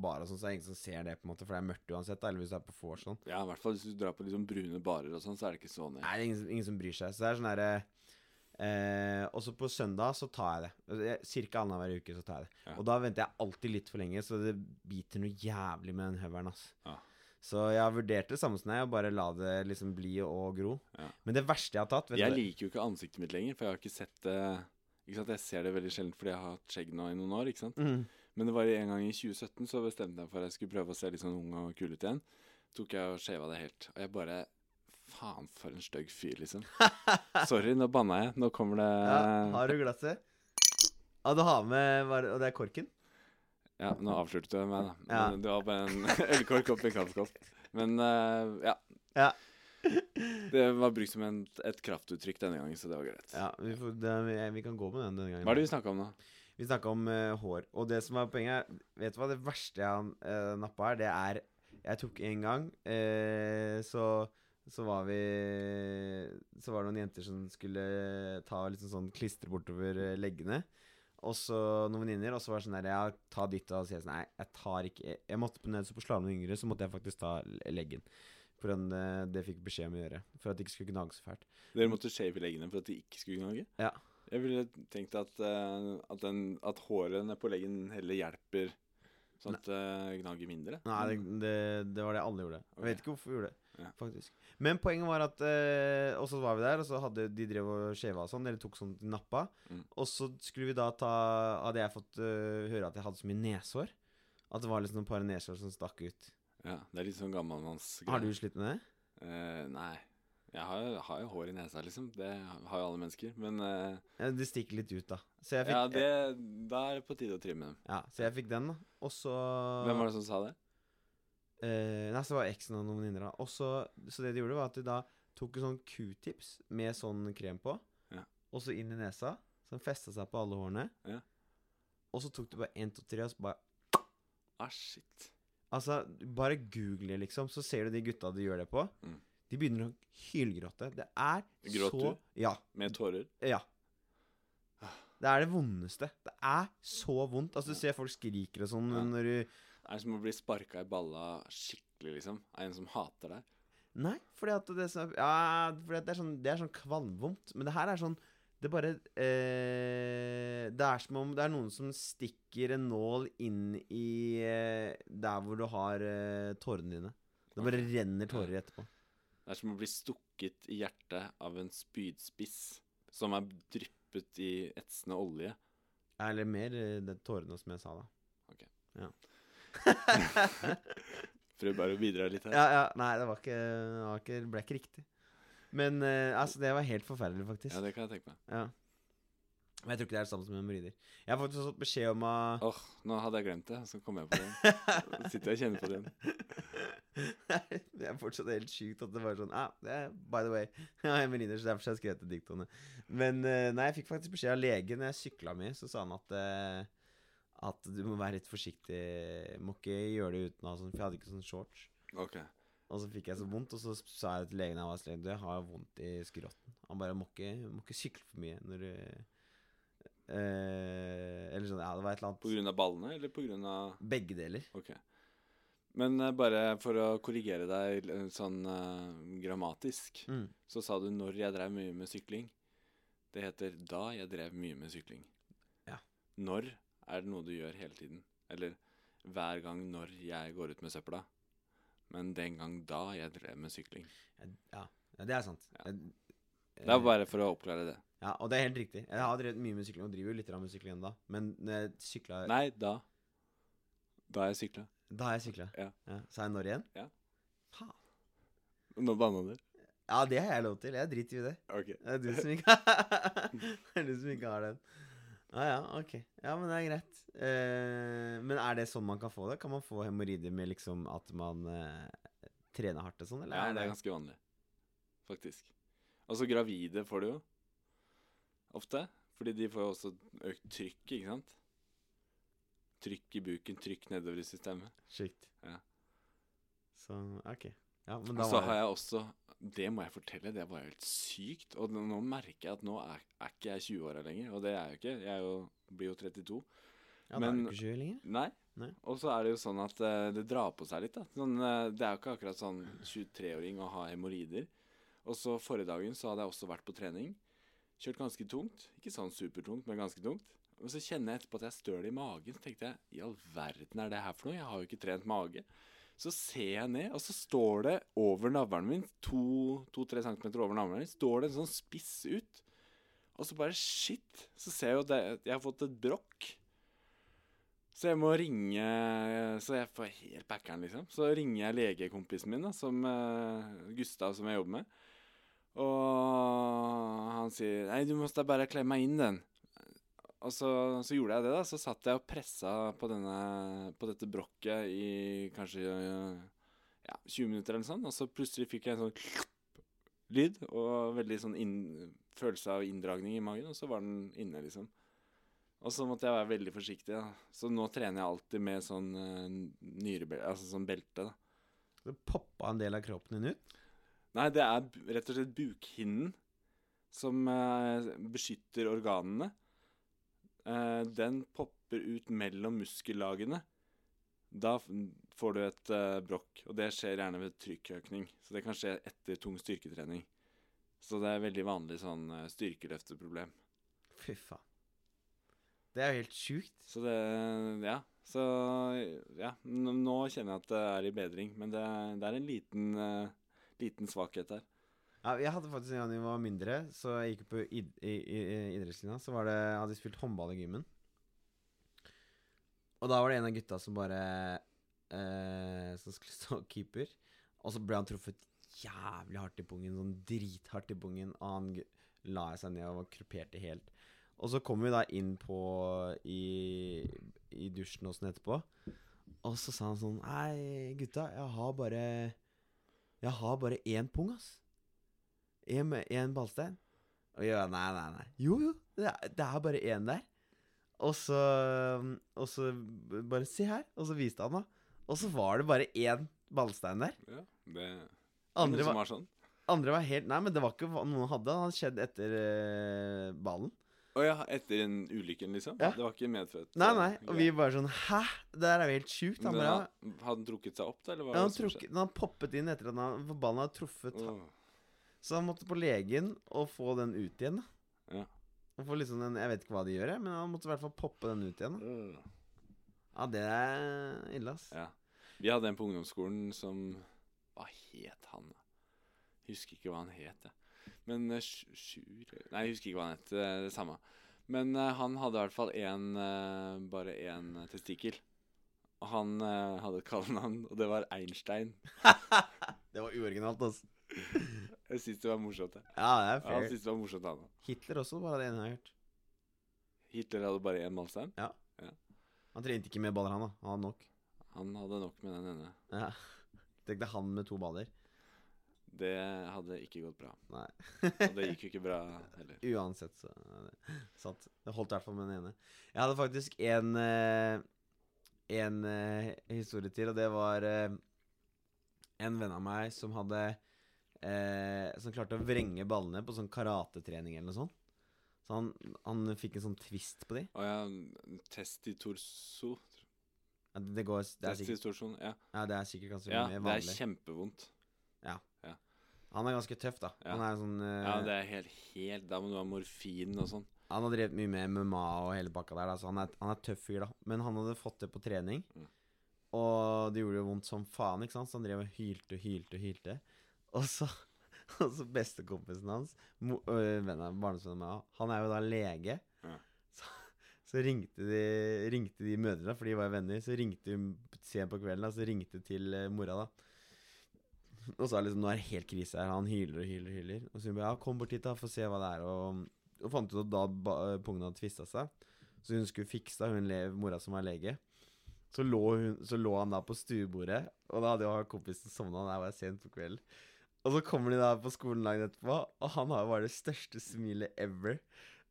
Speaker 1: bar og sånn, så er det ingen som ser det, på en måte, for det er mørkt uansett. Da, eller hvis du er på vors og sånn.
Speaker 2: Ja, i hvert fall hvis du drar på liksom brune barer og sånn, så er det ikke så nøye.
Speaker 1: Nei, det er ingen, ingen som bryr seg. Så det er sånn derre eh, Og så på søndag så tar jeg det. Altså, jeg- Cirka annenhver uke så tar jeg det.
Speaker 2: Ja.
Speaker 1: Og da venter jeg alltid litt for lenge, så det biter noe jævlig med den høvelen, ass.
Speaker 2: Ja.
Speaker 1: Så jeg har vurdert det samme som deg, og bare la det liksom bli og gro.
Speaker 2: Ja.
Speaker 1: Men det verste jeg har tatt vet
Speaker 2: Jeg
Speaker 1: du-
Speaker 2: liker jo ikke ansiktet mitt lenger, for jeg har ikke sett det Ikke sant, Jeg ser det veldig sjelden fordi jeg har hatt skjegg nå i noen år. ikke sant?
Speaker 1: mm.
Speaker 2: Men det var en gang i 2017 så bestemte jeg meg for at jeg skulle prøve å se litt sånn ung og kul ut igjen. Tok jeg og shava det helt. Og jeg bare Faen, for en stygg fyr, liksom. Sorry, nå banna jeg. Nå kommer det
Speaker 1: ja,
Speaker 2: Ja,
Speaker 1: Har du glasset? Ja, du har med var, Og det er korken?
Speaker 2: nå avslørte du meg, da. Men
Speaker 1: Ja.
Speaker 2: Det var bare en ølkork oppi en kaffekopp. Men eh, ja.
Speaker 1: Ja.
Speaker 2: Det var brukt som en, et kraftuttrykk denne gangen, så det var greit.
Speaker 1: Ja, vi, får, det, vi kan gå med den denne gangen.
Speaker 2: Hva er det vi snakka om nå?
Speaker 1: Vi snakka om eh, hår. Og det som er poenget er, Vet du hva det verste jeg uh, nappa her, det er Jeg tok en gang, eh, så så var vi Så var det noen jenter som skulle ta liksom sånn klistre bortover eh, leggene. Og så noen venninner, og så var det sånn der Ja, ta ditt, og så sier jeg sånn Nei, jeg tar ikke Jeg, jeg måtte på Nødvendigvis på Slalåm yngre, så måtte jeg faktisk ta le- leggen. For den, eh, det fikk jeg beskjed om å gjøre. For at det ikke skulle gnage så fælt.
Speaker 2: Dere måtte shave leggene for at de ikke skulle gnage?
Speaker 1: Ja.
Speaker 2: Jeg ville tenkt at, eh, at, den, at hårene på leggen heller hjelper, sånn at det gnager mindre.
Speaker 1: Nei, det, det, det var det alle gjorde. Jeg
Speaker 2: Ok.
Speaker 1: vet ikke hvorfor vi gjorde det,
Speaker 2: Ja.
Speaker 1: faktisk. Men poenget var at eh, Og så var vi der, og så hadde de drev og skjeva og sånn, eller tok sånn til nappa.
Speaker 2: Mm.
Speaker 1: Og så skulle vi da ta Hadde jeg fått eh, høre at jeg hadde så mye neshår. At det var liksom et par neshår som stakk ut.
Speaker 2: Ja, det er litt sånn gammelmannsgreie.
Speaker 1: Har du slitt med det?
Speaker 2: Eh, nei. Jeg har, jo- har jo hår i nesa, liksom. Det har jo alle mennesker. Men eh,
Speaker 1: Ja, det stikker litt ut, da. Så jeg fikk, e-
Speaker 2: ja,
Speaker 1: ja,
Speaker 2: det, da er det på tide å trimme dem.
Speaker 1: så jeg fikk den, da. Og så
Speaker 2: Hvem var det som sa det?
Speaker 1: Eh, nei, så var eksen og noen venninner da. Og så- så det de gjorde, var at de da tok en sånn q-tips med sånn krem på,
Speaker 2: Ja.
Speaker 1: og så inn i nesa, så den festa seg på alle hårene.
Speaker 2: Ja.
Speaker 1: Og så tok de bare 1, 2, 3, og så bare
Speaker 2: Ah, shit.
Speaker 1: Altså, bare google, det, liksom, så ser du de gutta du gjør det på.
Speaker 2: Mm.
Speaker 1: De begynner å hylgråte. Det er
Speaker 2: Gråt
Speaker 1: så
Speaker 2: du?
Speaker 1: Ja.
Speaker 2: Med tårer?
Speaker 1: Ja. Det er det vondeste. Det er så vondt. Altså, du ser folk skriker og sånn
Speaker 2: Ja.
Speaker 1: når du
Speaker 2: Det er som å bli sparka i balla skikkelig, liksom. Av en som hater deg.
Speaker 1: Nei, fordi at det, som er, ja, fordi at det, er, sånn, det er sånn kvalmvondt. Men det her er sånn Det bare eh, Det er som om det er noen som stikker en nål inn i eh, der hvor du har eh, tårene dine. Det bare renner tårer etterpå.
Speaker 2: Det er som å bli stukket i hjertet av en spydspiss som er dryppet i etsende olje.
Speaker 1: Eller mer eh, det er tårene, som jeg sa da.
Speaker 2: Ok.
Speaker 1: Ja.
Speaker 2: Prøv bare å bidra litt her.
Speaker 1: ja, ja. Nei, det var ikke, det var ikke det ble ikke riktig. Men eh, altså, det var helt forferdelig, faktisk.
Speaker 2: Ja, det kan jeg tenke meg.
Speaker 1: Ja. Men jeg tror ikke det er det samme som hemoroider. Jeg har faktisk fått beskjed om å
Speaker 2: Åh, nå hadde jeg glemt det, så kom jeg på det. Nå Sitter jeg og kjenner på det igjen.
Speaker 1: Det er fortsatt helt sjukt at det var sånn ah, det er, By the way, jeg har hemoroider, så derfor har jeg skrevet det diktet. Men eh, nei, jeg fikk faktisk beskjed av legen når jeg sykla mye, så sa han at eh, at du må være litt forsiktig. Må ikke gjøre det uten å ha sånn, for jeg hadde ikke sånn shorts.
Speaker 2: Ok.
Speaker 1: Og så fikk jeg så vondt, og så sa jeg til legen jeg var hos legen, du, jeg har vondt i skrotten. Han bare må ikke, må ikke sykle for mye når du eh, Eller sånn, ja, det var et eller annet
Speaker 2: På grunn av ballene, eller på grunn av...
Speaker 1: Begge deler.
Speaker 2: Ok. Men eh, bare for å korrigere deg eh, sånn eh, grammatisk,
Speaker 1: Mm.
Speaker 2: så sa du 'når jeg drev mye med sykling'. Det heter 'da jeg drev mye med sykling'.
Speaker 1: Ja.
Speaker 2: Når er det noe du gjør hele tiden. Eller hver gang når jeg går ut med søpla. Men den gang da jeg drev med sykling.
Speaker 1: Ja, ja det er sant. Eh,
Speaker 2: Ja.
Speaker 1: Jeg-
Speaker 2: Det er bare for å oppklare det.
Speaker 1: Ja, Og det er helt riktig. Jeg har drevet mye med sykling, og driver jo litt grann med sykling ennå. Men når jeg sykla
Speaker 2: Nei, da. Da jeg sykla.
Speaker 1: Da har jeg sykla.
Speaker 2: Ja.
Speaker 1: Sa jeg når igjen?
Speaker 2: Ja.
Speaker 1: Faen.
Speaker 2: Nå banna du.
Speaker 1: Ja, det har jeg lov til. Jeg driter i det.
Speaker 2: Ok.
Speaker 1: Det er du som ikke Det er du som ikke har den. Ja, ja, ok. Ja, men det er greit. Eh, men er det sånn man kan få det? Kan man få hemoroider med liksom at man eh, trener hardt og sånn, eller?
Speaker 2: Ja, det er
Speaker 1: det
Speaker 2: ganske vanlig, faktisk. Altså, gravide får det jo ofte, fordi de får jo også økt trykk, ikke sant? Trykk i buken, trykk nedover i systemet.
Speaker 1: sjukt?
Speaker 2: Ja.
Speaker 1: Så, ok. Ja, men
Speaker 2: Og
Speaker 1: da
Speaker 2: så
Speaker 1: var
Speaker 2: har
Speaker 1: det
Speaker 2: jeg også Det må jeg fortelle, det var helt sykt. Og nå- nå merker jeg at nå er, er ikke jeg 20-åra lenger, og det er jeg jo ikke. Jeg er jo, blir jo 32.
Speaker 1: Ja, da er
Speaker 2: men-
Speaker 1: du ikke sju lenger.
Speaker 2: Nei.
Speaker 1: Nei.
Speaker 2: Og så er det jo sånn at eh, det drar på seg litt. da sånn, eh, Det er jo ikke akkurat sånn 23-åring å ha hemoroider. Og så forrige dagen så hadde jeg også vært på trening. Kjørt ganske tungt. Ikke sånn supertungt, men ganske tungt. Og så kjenner jeg etterpå at jeg er støl i magen. Så tenkte jeg i all verden er det her for noe? Jeg har jo ikke trent mage. Så ser jeg ned, og så står det over navlen min, to- to-tre centimeter over navlen min, står det en sånn spiss ut. Og så bare shit, så ser jeg jo at jeg- jeg har fått et brokk. Så jeg må ringe Så jeg får helt packeren, liksom. Så ringer jeg legekompisen min, da, som eh, Gustav, som jeg jobber med. Og han sier 'Nei, du må da bare klemme meg inn den'. Og så, så gjorde jeg det, da. Så satt jeg og pressa på, denne, på dette brokket i kanskje eh, ja, 20 minutter eller sånn, og så plutselig fikk jeg en sånn lyd og veldig sånn inn, følelse av inndragning i magen, og så var den inne, liksom. Og så måtte jeg være veldig forsiktig, da. Så nå trener jeg alltid med sånn nyrebelte, altså sånn belte, da.
Speaker 1: Så poppa en del av kroppen din ut.
Speaker 2: Nei, det er bu- rett og slett bukhinnen som eh, beskytter organene. Eh, den popper ut mellom muskellagene. Da f- får du et eh, brokk, og det skjer gjerne ved trykkøkning. Så det kan skje etter tung styrketrening. Så det er veldig vanlig sånn eh, styrkeløfteproblem.
Speaker 1: Fy faen. Det er jo helt sjukt.
Speaker 2: Så det Ja. Så ja, n- nå kjenner jeg at det er i bedring, men det, det er en liten, eh, liten svakhet der.
Speaker 1: Ja, jeg hadde faktisk en gang jeg var mindre, så jeg gikk på id i, i, i idrettslinja. Så var det, hadde jeg spilt håndball i gymmen. Og da var det en av gutta som bare eh, Som skulle stå keeper. Og så ble han truffet jævlig hardt i pungen, sånn drithardt i pungen. Og han gu- la seg ned og kruperte helt. Og så kom vi da inn på i, i dusjen og sånn etterpå. Og så sa han sånn Hei, gutta, jeg har bare Jeg har bare én pung, ass. En, en ballstein? Og jeg, nei, nei, nei. Jo, jo, det er, det er bare én der. Og så, og så b- bare Se her. Og så viste han, da. Og så var det bare én ballstein der.
Speaker 2: Ja, det
Speaker 1: Andre
Speaker 2: som
Speaker 1: var,
Speaker 2: var sånn.
Speaker 1: andre var helt Nei, men det var ikke hva noen hadde. Han hadde skjedd etter eh, ballen.
Speaker 2: Å ja, etter den ulykken, liksom?
Speaker 1: Ja.
Speaker 2: Det var ikke medfødt?
Speaker 1: Nei,
Speaker 2: eh,
Speaker 1: nei. Og vi
Speaker 2: greie.
Speaker 1: bare sånn Hæ? Det der er jo helt sjukt. Han
Speaker 2: Men
Speaker 1: bare
Speaker 2: han- Hadde han trukket seg opp, da? Eller hva
Speaker 1: ja,
Speaker 2: var
Speaker 1: han,
Speaker 2: det som
Speaker 1: trukket- han poppet inn etter at han for ballen hadde truffet.
Speaker 2: skjedde? Åh.
Speaker 1: Så han måtte på legen og få den ut igjen. da
Speaker 2: Ja.
Speaker 1: Og få liksom den, Jeg vet ikke hva de gjør, jeg, men han måtte i hvert fall poppe den ut igjen. da Ja, det er ille, ass.
Speaker 2: Ja. Vi hadde en på ungdomsskolen som Hva het han? da? Husker ikke hva han het, jeg. Men eh, Sj- Sjur Nei, jeg husker ikke hva han het. Det er det samme. Men eh, han hadde i hvert fall én Bare én testikkel. Og han eh, hadde et kallenavn, og det var Einstein.
Speaker 1: Det var uoriginalt, ass.
Speaker 2: Jeg syns det var morsomt. jeg.
Speaker 1: Ja, det er
Speaker 2: Ja, han
Speaker 1: fair.
Speaker 2: syntes det var morsomt, han òg.
Speaker 1: Hitler også, bare det ene jeg har hørt.
Speaker 2: Hitler hadde bare én malstein.
Speaker 1: Han trente ikke med baller, han da. Han hadde nok.
Speaker 2: Han hadde nok med den ene.
Speaker 1: Ja. Tenk deg han med to baller.
Speaker 2: Det hadde ikke gått bra.
Speaker 1: Nei.
Speaker 2: Og det gikk jo ikke bra heller.
Speaker 1: Uansett, så er det sant. Det holdt i hvert fall med den ene. Jeg hadde faktisk en eh, En eh, historie til, og det var eh, en venn av meg som hadde eh, Som klarte å vrenge ballene på sånn karatetrening eller noe sånt. Så han, han fikk en sånn twist på de.
Speaker 2: Å ja, testitorso
Speaker 1: Ja, Det det går Det er sikkert,
Speaker 2: Testitorson, ja.
Speaker 1: ja, det er sikkert ganske
Speaker 2: ja.
Speaker 1: mye
Speaker 2: Det er
Speaker 1: vanlig.
Speaker 2: kjempevondt.
Speaker 1: Han er ganske tøff, da.
Speaker 2: Ja.
Speaker 1: Han er sånn eh,
Speaker 2: Ja, det er helt, helt Da må du ha morfin og sånn.
Speaker 1: Han har drevet mye med MMA og hele pakka der, da, så han er, han er tøff fyr, da. Men han hadde fått det på trening,
Speaker 2: Mm.
Speaker 1: og det gjorde jo vondt som faen, ikke sant? Så han drev og hylte og hylte og hylte. Og så, og så bestekompisen hans, mo- øh, vennen av- barndomsvennen av meg, han er jo da lege.
Speaker 2: Ja.
Speaker 1: Så, så ringte de, ringte de mødrene, for de var jo venner, så ringte de sent på kvelden, da, så ringte de til eh, mora, da. Og så er det liksom, nå er det helt krise her, han hyler og hyler og hyler. Og så sier hun bare, ja, kom bort hit da, få se hva det er, og og fant ut at da ba- eh, pungen hadde tvista seg. Så hun skulle fikse det, hun le, mora som var lege. Så lå, hun, så lå han da på stuebordet, og da hadde jo han kompisen sovna, det var sent på kvelden. Og så kommer de da på skolen dagen etterpå, og han har jo bare det største smilet ever.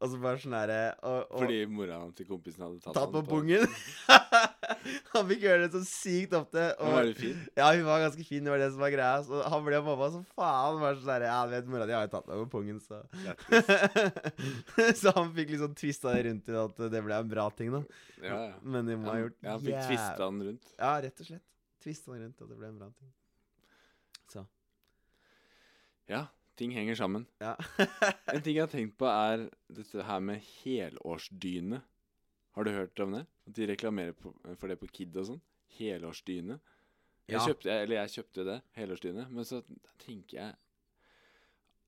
Speaker 1: Og så bare sånn derre og- og-
Speaker 2: Fordi mora til kompisen hadde tatt,
Speaker 1: Tatt på
Speaker 2: han
Speaker 1: pungen! han fikk høre det så sykt ofte.
Speaker 2: Men var det fint?
Speaker 1: Ja, hun var ganske fin, det var det som var greia. Så han ble mamma så faen. Var sånn der, ja, du vet, mora di har jo tatt meg på pungen, så Så han fikk liksom twista det rundt til at det ble en bra ting, da.
Speaker 2: Ja, ja.
Speaker 1: Men de må ha
Speaker 2: Han,
Speaker 1: gjort
Speaker 2: ja, han fikk
Speaker 1: jæv-
Speaker 2: tvista han rundt.
Speaker 1: Ja, rett og slett. Tvista det rundt at det ble en bra ting. Så.
Speaker 2: Ja, ting henger sammen.
Speaker 1: Ja.
Speaker 2: En ting jeg har tenkt på, er dette her med helårsdyne. Har du hørt om det? At de reklamerer på, for det på Kid og sånn. Helårsdyne. Jeg
Speaker 1: Ja.
Speaker 2: kjøpte, eller jeg kjøpte det, helårsdyne, men så tenker jeg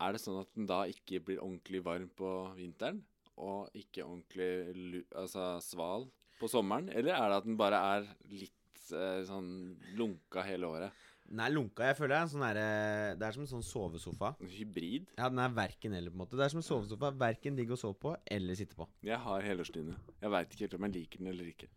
Speaker 2: Er det sånn at den da ikke blir ordentlig varm på vinteren? Og ikke ordentlig lu, altså sval på sommeren? Eller er det at den bare er litt eh, sånn lunka hele året?
Speaker 1: Den er lunka, jeg føler. det er en Sånn derre- det er som en sånn sovesofa.
Speaker 2: En Hybrid?
Speaker 1: Ja, den er verken eller, på en måte. Det er som en sovesofa. Verken digg å sove på eller sitte på.
Speaker 2: Jeg har helårsdyne. Jeg veit ikke helt om jeg liker den eller ikke.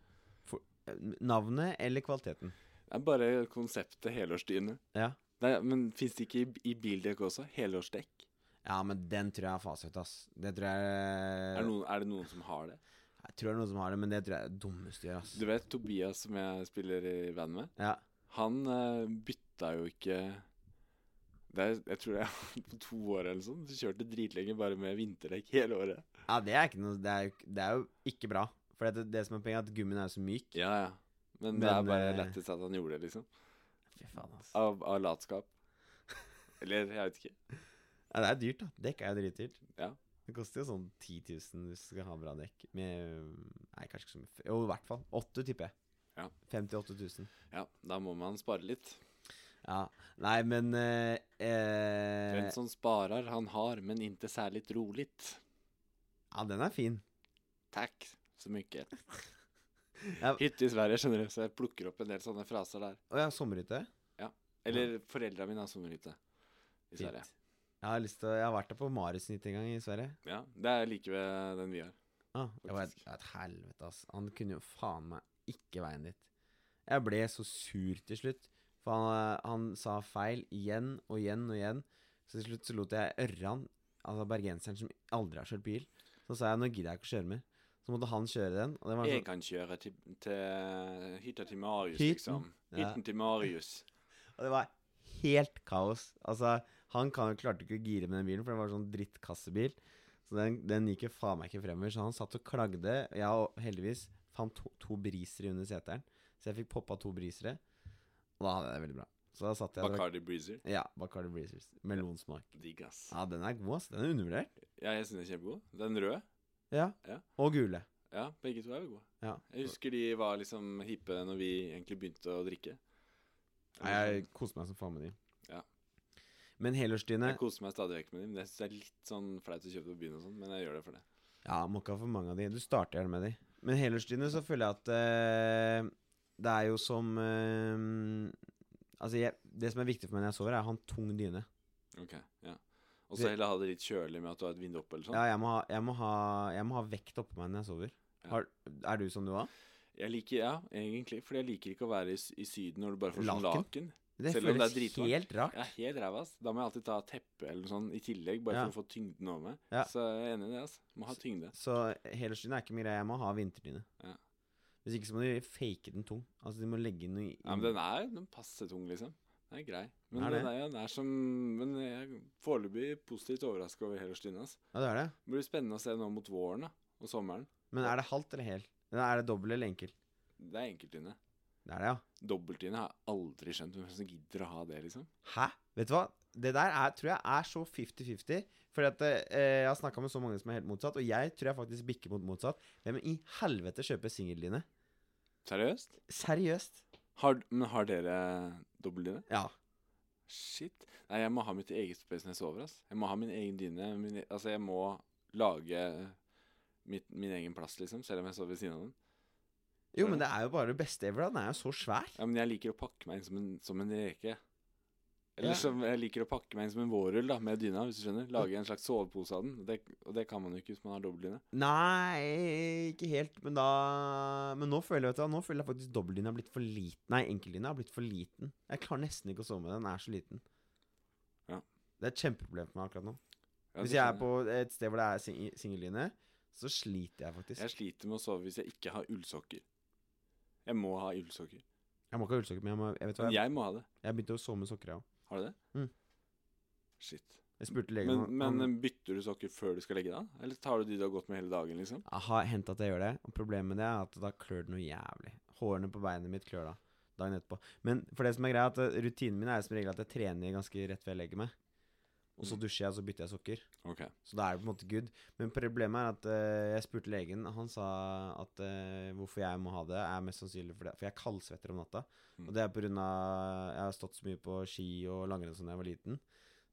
Speaker 1: Navnet eller kvaliteten?
Speaker 2: Det er bare konseptet helårsdyne.
Speaker 1: Ja.
Speaker 2: Nei, men fins det ikke i, i bildekk også? Helårsdekk?
Speaker 1: Ja, men den tror jeg er fasit, ass. Det tror jeg Eh.
Speaker 2: Er det, noen, er det noen som har det?
Speaker 1: Jeg tror det er noen som har det, men det tror jeg er det dummeste å gjøre, ass.
Speaker 2: Du vet Tobias som jeg spiller i band med?
Speaker 1: Ja.
Speaker 2: Han eh, bytta jo ikke det er, Jeg tror det er på to år eller sånn. Så kjørte dritlenge bare med vinterdekk hele året.
Speaker 1: ja, det er ikke noe Det er jo, det er jo ikke bra. For det, det som er poenget, er at gummien er jo så myk.
Speaker 2: Ja, ja. Men, det
Speaker 1: Men,
Speaker 2: er bare
Speaker 1: eh,
Speaker 2: lættis at han gjorde det, liksom.
Speaker 1: Fy faen, ass.
Speaker 2: Av, av latskap. Eller jeg vet ikke.
Speaker 1: Ja, det er dyrt, da. Dekk er jo dritdyrt.
Speaker 2: Ja.
Speaker 1: Det koster jo sånn 10 000 hvis du skal ha bra dekk. Med Nei, kanskje ikke så mye. Jo, i hvert fall. 8 tipper jeg.
Speaker 2: Ja.
Speaker 1: 58 000.
Speaker 2: Ja, da må man spare litt.
Speaker 1: Ja. Nei, men eh, eh,
Speaker 2: Den som sparer, han har, men inte særlig roligt. sånn.
Speaker 1: Ja, den er fin.
Speaker 2: Takk så mye.
Speaker 1: Ja.
Speaker 2: Hytte i Sverige, skjønner du, så jeg plukker opp en del sånne fraser der.
Speaker 1: Å ja, sommerhytte.
Speaker 2: Eller foreldra mine har sommerhytte i Sverige.
Speaker 1: Fint. Jeg har lyst til å Jeg har vært der på Marisnytt en gang i Sverige.
Speaker 2: Ja, Det er like ved den vi har.
Speaker 1: Ah, det var et,
Speaker 2: Faktisk.
Speaker 1: det var et helvete, ass. Han kunne jo faen meg ikke veien dit. Jeg ble så sur til slutt, for han, eh, han sa feil igjen og igjen og igjen. Så til slutt så lot jeg Ørran, altså bergenseren som aldri har kjørt bil, så sa jeg nå gidder jeg ikke å kjøre mer. Så måtte han kjøre den. Og det var
Speaker 2: Jeg
Speaker 1: sånn,
Speaker 2: kan kjøre til, til hytta til Marius,
Speaker 1: Hytten?
Speaker 2: liksom.
Speaker 1: Ja.
Speaker 2: Hytten til Marius.
Speaker 1: og det var helt kaos. Altså, han kan, klarte ikke å gire med den bilen, for det var sånn drittkassebil. Så den, den gikk jo faen meg ikke fremover. Så han satt og klagde. Jeg og heldigvis fant to, to brisere under seteren, så jeg fikk poppa to brisere. Og da hadde jeg det veldig bra. Så da satt jeg og drakk-
Speaker 2: Bacardi Breezer.
Speaker 1: Ja, Bacardi Breezers. Melonsmak.
Speaker 2: Digg, ass.
Speaker 1: Ja, den er god, ass. Den er undervurdert.
Speaker 2: Ja, jeg syns den er kjempegod. Den røde.
Speaker 1: Ja.
Speaker 2: Ja.
Speaker 1: Og gule.
Speaker 2: Ja, begge to er jo gode.
Speaker 1: Ja.
Speaker 2: Jeg husker de var liksom hippe når vi egentlig begynte å drikke.
Speaker 1: Nei, jeg koser meg som faen med de.
Speaker 2: Ja.
Speaker 1: Men helårsdyne
Speaker 2: Jeg koser meg stadig vekk med dem. men Jeg syns det er litt sånn flaut å kjøpe på byen og sånn, men jeg gjør det for det.
Speaker 1: Ja, må ikke ha for mange av de. Du starter gjerne med de. Men helårsdyne så føler jeg at eh, det er jo som eh, Altså, jeg, det som er viktig for meg når jeg sover, er å ha en tung dyne.
Speaker 2: Ok, ja. Og så
Speaker 1: Det-
Speaker 2: heller ha det litt kjølig med at du har et vindu oppe eller sånn.
Speaker 1: Ja, jeg må ha, jeg må ha, jeg må ha vekt oppå meg når jeg sover.
Speaker 2: Ja.
Speaker 1: Har, er du sånn du òg?
Speaker 2: Jeg liker, ja, egentlig, fordi jeg liker ikke å være i, s- i Syden når du bare får sånn
Speaker 1: Laken?
Speaker 2: laken.
Speaker 1: Det
Speaker 2: Selv om det
Speaker 1: føles
Speaker 2: er dritvarmt.
Speaker 1: helt rart.
Speaker 2: Jeg er helt ræva, ass. Da må jeg alltid ta teppe eller noe sånt i tillegg, bare
Speaker 1: Ja.
Speaker 2: for å få tyngden over meg.
Speaker 1: Ja.
Speaker 2: Så jeg er enig i det, ass. Må ha tyngde.
Speaker 1: Så helårsdyne er ikke min greie. Jeg må ha vinterdyne.
Speaker 2: Ja.
Speaker 1: Hvis ikke så må du fake den tung. Altså de må legge den i
Speaker 2: Ja, men den er, den passer tung, liksom. Den er grei. Men
Speaker 1: Er det?
Speaker 2: den, er, ja, den er som Men jeg er foreløpig positivt overraska over helårsdyna, ass.
Speaker 1: Ja, det er det.
Speaker 2: Det blir spennende å se nå mot våren da, og sommeren.
Speaker 1: Men er det halvt eller hel? Eller Er det dobbel eller enkel?
Speaker 2: Det er enkeltdyne.
Speaker 1: Det er det, ja.
Speaker 2: Dobbeltdyne har jeg aldri skjønt hvem som gidder å ha det, liksom.
Speaker 1: Hæ? Vet du hva? Det der er, tror jeg er så 50-50. Fordi at eh, jeg har snakka med så mange som er helt motsatt, og jeg tror jeg faktisk bikker mot motsatt. Hvem i helvete kjøper singeldyne?
Speaker 2: Seriøst?
Speaker 1: Seriøst?
Speaker 2: Har, men har dere dobbeltdyne?
Speaker 1: Ja.
Speaker 2: Shit. Nei, jeg må ha mitt eget space når jeg sover, ass. Jeg må ha min egen dyne. Min, e- altså, jeg må lage mitt, min egen plass, liksom, selv om jeg sover ved siden av den.
Speaker 1: Jo, men det er jo bare det beste ever, da. Den er jo så svær.
Speaker 2: Ja, men jeg liker å pakke meg inn som en, som en reke.
Speaker 1: Ja.
Speaker 2: Eller som jeg liker å pakke meg inn som en vårrull, da, med dyna, hvis du skjønner. Lage en slags sovepose av den. Og det, og det kan man jo ikke hvis man har dobbeltdyne.
Speaker 1: Nei, ikke helt, men da Men nå føler jeg vet du, hva, nå føler jeg faktisk dobbeltdyna har blitt for liten. Nei, enkeltdyna har blitt for liten. Jeg klarer nesten ikke å sove med den. Den er så liten.
Speaker 2: Ja.
Speaker 1: Det er et kjempeproblem for meg akkurat nå.
Speaker 2: Ja,
Speaker 1: Hvis
Speaker 2: det
Speaker 1: jeg
Speaker 2: skjønner
Speaker 1: er på et sted hvor det er sing- singeldyne, så sliter jeg faktisk.
Speaker 2: Jeg sliter med å sove hvis jeg ikke har ullsokker. Jeg må ha ullsokker.
Speaker 1: Jeg må ikke ha ullsokker, men jeg, må, jeg vet hva
Speaker 2: Men jeg må ha det.
Speaker 1: Jeg begynte å sove med sokker, jeg òg.
Speaker 2: Har du det?
Speaker 1: Mm.
Speaker 2: Shit.
Speaker 1: Jeg spurte legen
Speaker 2: Men,
Speaker 1: om
Speaker 2: men
Speaker 1: han-
Speaker 2: bytter du sokker før du skal legge deg? Eller tar du de du har gått med hele dagen, liksom?
Speaker 1: Jeg har hendt at jeg gjør det, og problemet med det er at da klør det noe jævlig. Hårene på beinet mitt klør da dagen etterpå. Men for det som er greia, er at eh, rutinen min er som regel at jeg trener ganske rett før jeg legger meg. Og så
Speaker 2: Mm.
Speaker 1: dusjer jeg, og så bytter jeg sokker.
Speaker 2: Ok.
Speaker 1: Så da er det på en måte good. Men problemet er at eh, jeg spurte legen, han sa at eh, hvorfor jeg må ha det, er mest sannsynlig fordi For jeg kaldsvetter om natta.
Speaker 2: Mm.
Speaker 1: Og det er på grunn av Jeg har stått så mye på ski og langrenn som da jeg var liten,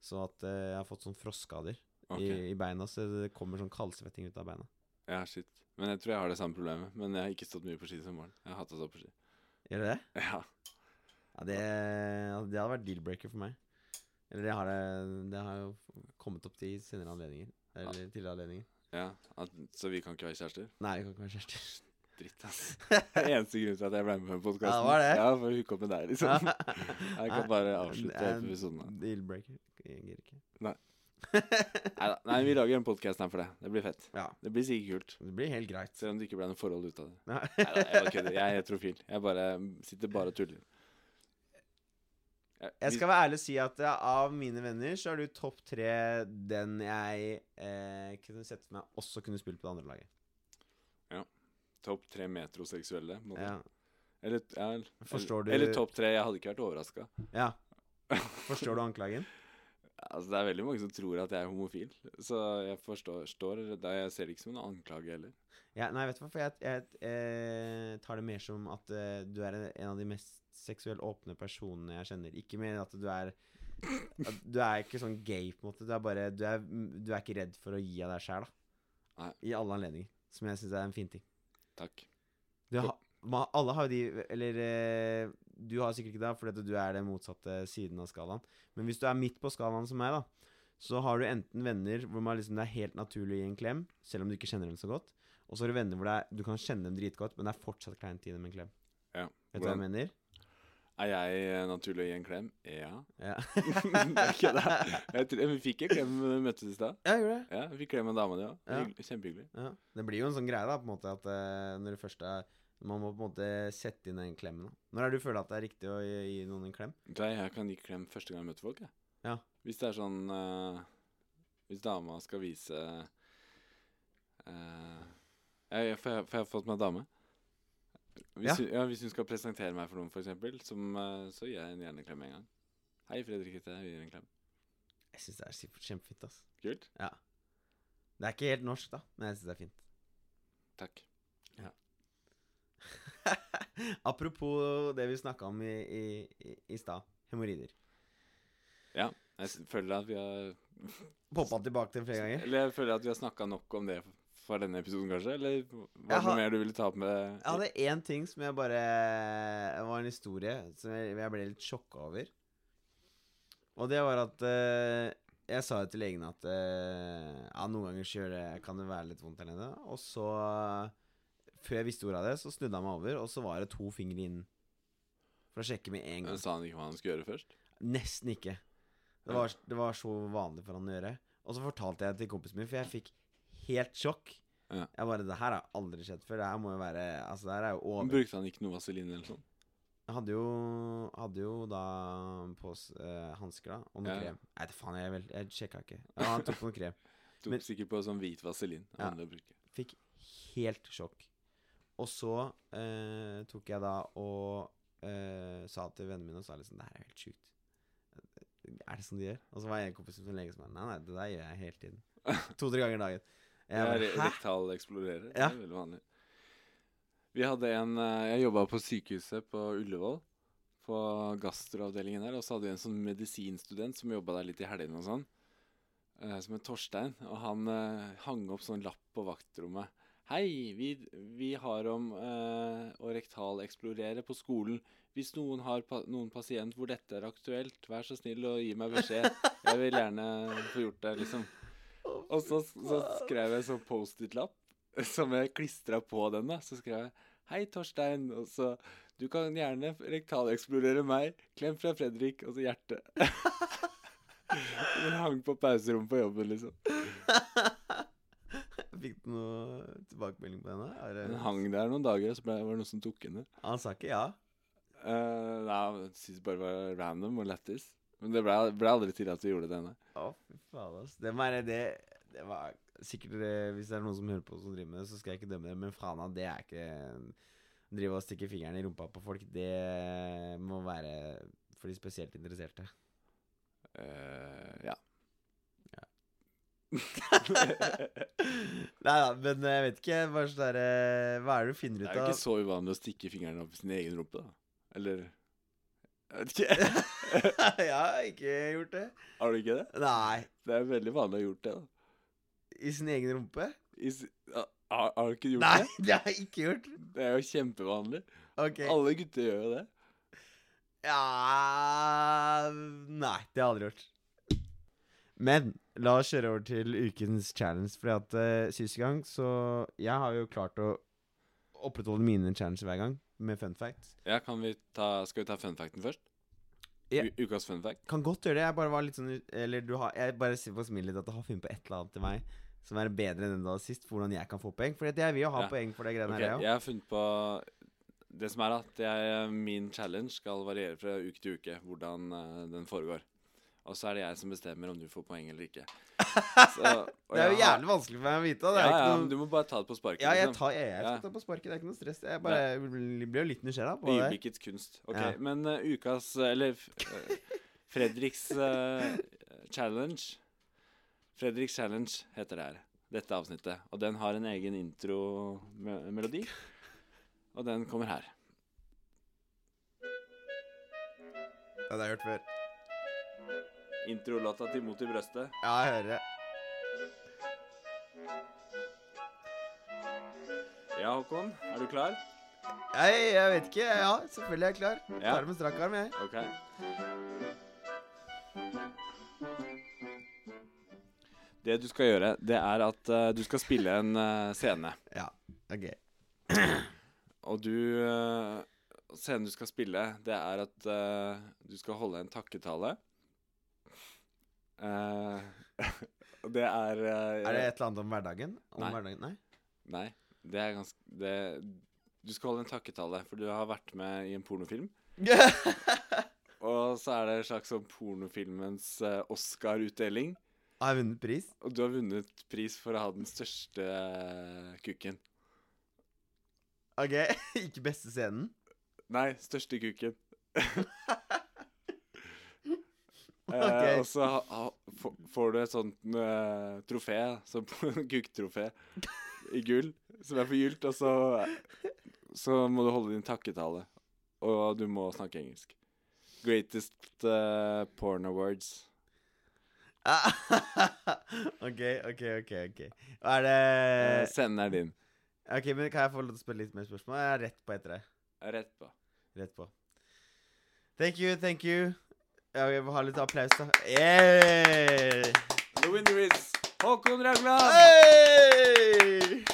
Speaker 1: så at eh, jeg har fått sånn frostskader
Speaker 2: ok.
Speaker 1: i, i beina, så det kommer sånn kaldsvetting ut av beina.
Speaker 2: Ja, shit. Men jeg tror jeg har det samme problemet. Men jeg har ikke stått mye på ski som barn. Jeg har hatt å stå på ski.
Speaker 1: Gjør det det?
Speaker 2: Ja.
Speaker 1: Ja, det, det hadde vært deal-breaker for meg. Eller det har, det, det har jo kommet opp til senere anledninger. Eller tidligere anledninger.
Speaker 2: ja. At, så vi kan ikke være kjærester?
Speaker 1: Nei, det kan ikke være kjærester.
Speaker 2: Dritt, ass. Det er eneste grunnen til at jeg ble med på podkasten.
Speaker 1: Ja, det var det.
Speaker 2: Ja, for å hooke opp med deg, liksom. Jeg kan bare avslutte
Speaker 1: Nei,
Speaker 2: episoden her.
Speaker 1: Deal-breaker. Jeg gir ikke.
Speaker 2: Neida. Nei, vi lager en podkast her for det. Det blir fett.
Speaker 1: Ja,
Speaker 2: Det blir sikkert kult.
Speaker 1: det blir helt greit.
Speaker 2: Selv om det ikke ble noe forhold ut av det.
Speaker 1: Nei.
Speaker 2: Neida, jeg bare kødder. Jeg er heterofil. Jeg bare sitter bare og tuller. Jeg,
Speaker 1: Jeg skal være ærlig og si at eh, av mine venner så er du topp tre den jeg eh, kunne sett for meg også kunne spilt på det andre laget.
Speaker 2: Topp tre metroseksuelle. på en måte.
Speaker 1: Ja.
Speaker 2: Eller, ja, eller-
Speaker 1: Forstår du-
Speaker 2: eller topp tre. Jeg hadde ikke vært overraska.
Speaker 1: ja. Forstår du anklagen?
Speaker 2: Altså, det er veldig mange som tror at jeg er homofil, så jeg forstår, står, da jeg ser det ikke som en anklage heller.
Speaker 1: Ja, nei, vet du hva, for jeg, jeg eh, tar det mer som at eh, du er en av de mest seksuelt åpne personene jeg kjenner. Ikke mer at du er at Du er ikke sånn gay, på en måte. Du er bare Du er, du er ikke redd for å gi av deg sjæl, da.
Speaker 2: Nei.
Speaker 1: I alle anledninger. Som jeg syns er en fin ting.
Speaker 2: Takk.
Speaker 1: Du, har- ma, alle har jo de Eller eh, du har sikkert ikke det, fordi at du er den motsatte siden av skalaen. Men hvis du er midt på skalaen som meg, da, så har du enten venner hvor man liksom, det er helt naturlig å gi en klem, selv om du ikke kjenner dem så godt. Og så har du venner hvor det er, du kan kjenne dem dritgodt, men det er fortsatt kleint å gi dem en klem.
Speaker 2: Ja,
Speaker 1: Vet du hva jeg mener?
Speaker 2: Er jeg eh, naturlig å gi en klem? Ja.
Speaker 1: Ja,
Speaker 2: Jeg kødder. jeg tror, vi fikk en klem da vi møttes i stad.
Speaker 1: ja gjør det.
Speaker 2: Ja, vi fikk klem av dama di òg.
Speaker 1: Ja.
Speaker 2: Kjempehyggelig.
Speaker 1: Ja. Det blir jo en sånn greie, da, på en måte, at eh, når du først er Man må på en måte sette inn den klemmen. Da. Når er det du føler at det er riktig å gi, gi noen en klem?
Speaker 2: Da jeg kan gi klem første gang jeg møter folk, jeg.
Speaker 1: Ja.
Speaker 2: Hvis det er sånn eh, Hvis dama skal vise eh, jeg, for, jeg, for jeg har fått meg dame. Hvis,
Speaker 1: Ja.
Speaker 2: Hun, ja, hvis hun skal presentere meg for noen, f.eks., uh, så gir jeg henne gjerne en klem med en gang. Hei, Fredrik Hitte. Jeg gir deg en klem.
Speaker 1: Jeg syns det er sikkert kjempefint, ass.
Speaker 2: Kult.
Speaker 1: Det er ikke helt norsk, da, men jeg syns det er fint.
Speaker 2: Takk.
Speaker 1: Apropos det vi snakka om i, i, i, i stad, hemoroider.
Speaker 2: Jeg s- føler at vi har
Speaker 1: Poppa tilbake til flere ganger.
Speaker 2: Eller jeg føler at vi har snakka nok om det f- for denne episoden, kanskje? Eller var det
Speaker 1: Jeg har-
Speaker 2: noe mer du ville ta opp med
Speaker 1: Jeg hadde én ting som jeg bare Det var en historie som jeg, jeg ble litt sjokka over. Og det var at eh, jeg sa jo til legen at eh, ja, noen ganger så gjør det, kan det være litt vondt der nede. Og så, før jeg visste ordet av det, så snudde han meg over, og så var det to fingre inn. For å sjekke med en gang.
Speaker 2: Sa han ikke hva han skulle gjøre først?
Speaker 1: Nesten ikke. Det var, det var så vanlig for han å gjøre. Og så fortalte jeg det til kompisen min, for jeg fikk helt sjokk.
Speaker 2: Ja.
Speaker 1: Jeg bare Det her har aldri skjedd før. Det her må jo være Altså, det her er jo
Speaker 2: Men
Speaker 1: over.
Speaker 2: Brukte han ikke noe vaseline eller sånn?
Speaker 1: Jeg hadde jo, hadde jo da på uh, hansker, da, og noe
Speaker 2: Ja.
Speaker 1: krem. Nei, det faen, jeg, vel- jeg sjekka ikke. Ja, han tok noe krem.
Speaker 2: Tok
Speaker 1: Men-
Speaker 2: sikkert på sånn hvit vaselin.
Speaker 1: Ja.
Speaker 2: vanlig å bruke.
Speaker 1: Fikk helt sjokk. Og så eh, tok jeg da og eh, sa til vennene mine og sa liksom Det her er jo helt sjukt. Er det sånn de gjør? Og så var jeg en kompis som var lege som bare Nei, nei, det der gjør jeg hele tiden. To-tre ganger dagen.
Speaker 2: Jeg
Speaker 1: Jeg
Speaker 2: er
Speaker 1: bare, Hæ?
Speaker 2: rektal eksplorerer.
Speaker 1: Ja.
Speaker 2: Det er veldig vanlig. Vi hadde en eh, Jeg jobba på sykehuset på Ullevål. På gastroavdelingen der. Og så hadde vi en sånn medisinstudent som jobba der litt i helgene og sånn. eh, Som het Torstein. Og han eh, hang opp sånn lapp på vaktrommet. Hei, vi, vi har om eh, å rektaleksplorere på skolen. Hvis noen har pa noen pasient hvor dette er aktuelt, vær så snill å gi meg beskjed. Jeg vil gjerne få gjort det, liksom. Og så, så skrev jeg sånn Post-It-lapp som jeg klistra på den. da Så skrev jeg 'Hei, Torstein', og så 'Du kan gjerne rektaleksplorere meg. Klem fra Fredrik', og så hjerte. Den hang på pauserommet på jobben, liksom.
Speaker 1: Fikk du noe tilbakemelding på henne? Er
Speaker 2: Den
Speaker 1: det-
Speaker 2: hang der noen dager, og så ble, var det noen som tok henne.
Speaker 1: Han sa ikke ja?
Speaker 2: Uh, nei, jeg synes det bare var random og lættis. Men det ble, ble aldri til at vi gjorde det henne.
Speaker 1: Å, fy faen, ass. Det, må være- det, det var sikkert eh, Hvis det er noen som hører på som driver med det, så skal jeg ikke dømme det, men faen, da, det er ikke Drive og stikke fingeren i rumpa på folk, det må være for de spesielt interesserte.
Speaker 2: Eh, ja.
Speaker 1: Nei da, men jeg vet ikke. Bare sånn derre Hva er det du finner
Speaker 2: Det
Speaker 1: ut
Speaker 2: er jo
Speaker 1: av?
Speaker 2: ikke så uvanlig å stikke fingeren opp i sin egen rumpe, da. Eller Jeg vet ikke.
Speaker 1: jeg har ikke gjort det.
Speaker 2: Har du ikke det?
Speaker 1: Nei.
Speaker 2: Det er veldig vanlig å ha gjort det. da.
Speaker 1: I sin egen rumpe?
Speaker 2: I, s- ja, har, har du ikke gjort
Speaker 1: Nei,
Speaker 2: det?
Speaker 1: det har jeg ikke gjort.
Speaker 2: Det er jo kjempevanlig.
Speaker 1: Ok.
Speaker 2: Alle gutter gjør jo det.
Speaker 1: Ja Nei, det har jeg aldri gjort. Men la oss kjøre over til ukens challenge, fordi at eh, sist gang så Jeg har jo klart å opprettholde mine challenges hver gang, med fun facts.
Speaker 2: Ja, kan vi ta, Skal vi ta fun facten først?
Speaker 1: Ja.
Speaker 2: U ukas fun fact.
Speaker 1: Kan godt gjøre det. Jeg bare var litt sånn ut- Eller du har Jeg bare ser på smilet ditt at du har funnet på et eller annet til meg som er bedre enn den du hadde sist, for hvordan jeg kan få poeng. For jeg vil jo ha
Speaker 2: Ja.
Speaker 1: poeng for de greiene
Speaker 2: Ok,
Speaker 1: her, jeg òg.
Speaker 2: jeg har funnet på Det som er at jeg, eh, min challenge skal variere fra uke til uke hvordan eh, den foregår. Og så er det jeg som bestemmer om du får poeng eller ikke. Så, og
Speaker 1: Det er jo
Speaker 2: jeg har-
Speaker 1: jævlig vanskelig for meg å vite. og Det
Speaker 2: ja,
Speaker 1: er
Speaker 2: ja,
Speaker 1: ikke
Speaker 2: men
Speaker 1: noe
Speaker 2: Du må bare ta det på sparket.
Speaker 1: Ja, jeg,
Speaker 2: liksom.
Speaker 1: tar, jeg, jeg skal
Speaker 2: Ja.
Speaker 1: ta på sparket. Det er ikke noe stress. Jeg bare jeg blir jo litt nysgjerrig på det.
Speaker 2: Øyeblikkets kunst. Ok,
Speaker 1: Ja.
Speaker 2: men eh, ukas Eller eh, Fredriks eh, challenge. Fredriks challenge heter det her. Dette avsnittet. Og den har en egen intromelodi. Og den kommer her.
Speaker 1: Ja, det har jeg hørt før.
Speaker 2: Introlåta til Mot i brøstet.
Speaker 1: Ja, jeg hører det.
Speaker 2: Ja, Håkon, er du klar?
Speaker 1: Jeg, jeg vet ikke. Ja, selvfølgelig er jeg klar.
Speaker 2: Ja.
Speaker 1: Tar det med strak arm, jeg.
Speaker 2: Ok. Det du skal gjøre, det er at eh, du skal spille en eh, scene.
Speaker 1: Ja, ok.
Speaker 2: Og du eh, Scenen du skal spille, det er at eh, du skal holde en takketale. Eh, og det er eh,
Speaker 1: Er det et eller annet om hverdagen? Om
Speaker 2: Nei.
Speaker 1: hverdagen? Nei.
Speaker 2: Nei. Det er ganske det, Du skal holde en takketale, for du har vært med i en pornofilm. Og så er det en slags sånn pornofilmens eh, Oscar-utdeling.
Speaker 1: Har jeg vunnet pris?
Speaker 2: Og du har vunnet pris for å ha den største eh, kukken.
Speaker 1: Ok, ikke beste scenen.
Speaker 2: Nei, største kuken. Eh,
Speaker 1: Ok.
Speaker 2: og så ha- ha- få- får du et sånt eh, trofé, sånn kuktrofé, i gull, som er forgylt, og så, så må du holde din takketale. Og du må snakke engelsk. Greatest eh, porn awards.
Speaker 1: ok, ok, ok. ok. Og Er det
Speaker 2: Eh, Scenen er din.
Speaker 1: Ok, men Kan jeg få lov til å spørre litt mer spørsmål? Jeg er rett på etter deg.
Speaker 2: Rett på.
Speaker 1: Rett på. Thank you, thank you. Ja, vi må ha litt applaus, da. Yeah!
Speaker 2: The winner is Håkon Raugland!
Speaker 1: Hey!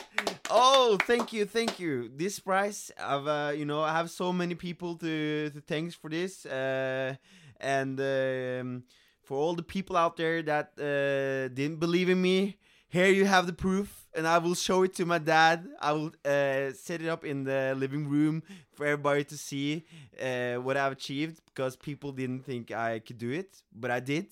Speaker 1: Oh, thank you, thank you. This prize, I've, uh, you know, I have so many people to, to thanks for this, uh, and um, for all the people out there that uh, didn't believe in me. Here you have the proof, and I will show it to my dad. I will uh, set it up in the living room for everybody to see uh, what I've achieved because people didn't think I could do it, but I did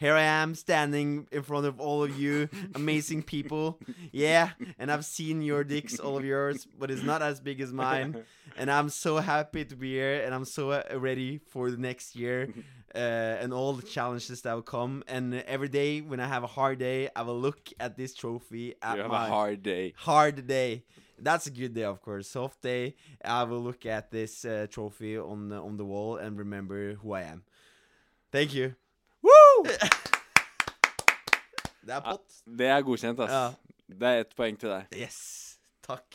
Speaker 1: here I am standing in front of all of you amazing people. Yeah, and I've seen your dicks, all of yours, but it's not as big as mine. And I'm so happy to be here, and I'm so uh, ready for the next year uh, and all the challenges that will come. And every day when I have a hard day, I will look at this trophy at
Speaker 2: You have
Speaker 1: my
Speaker 2: a hard day.
Speaker 1: hard day. That's a good day, of course. Soft day. I will look at this uh, trophy on the, on the wall and remember who I am. Thank you.
Speaker 2: Woo!
Speaker 1: Det
Speaker 2: Ah.
Speaker 1: er pott.
Speaker 2: Det er godkjent, ass.
Speaker 1: Ja.
Speaker 2: Det er ett poeng til deg.
Speaker 1: Yes, takk.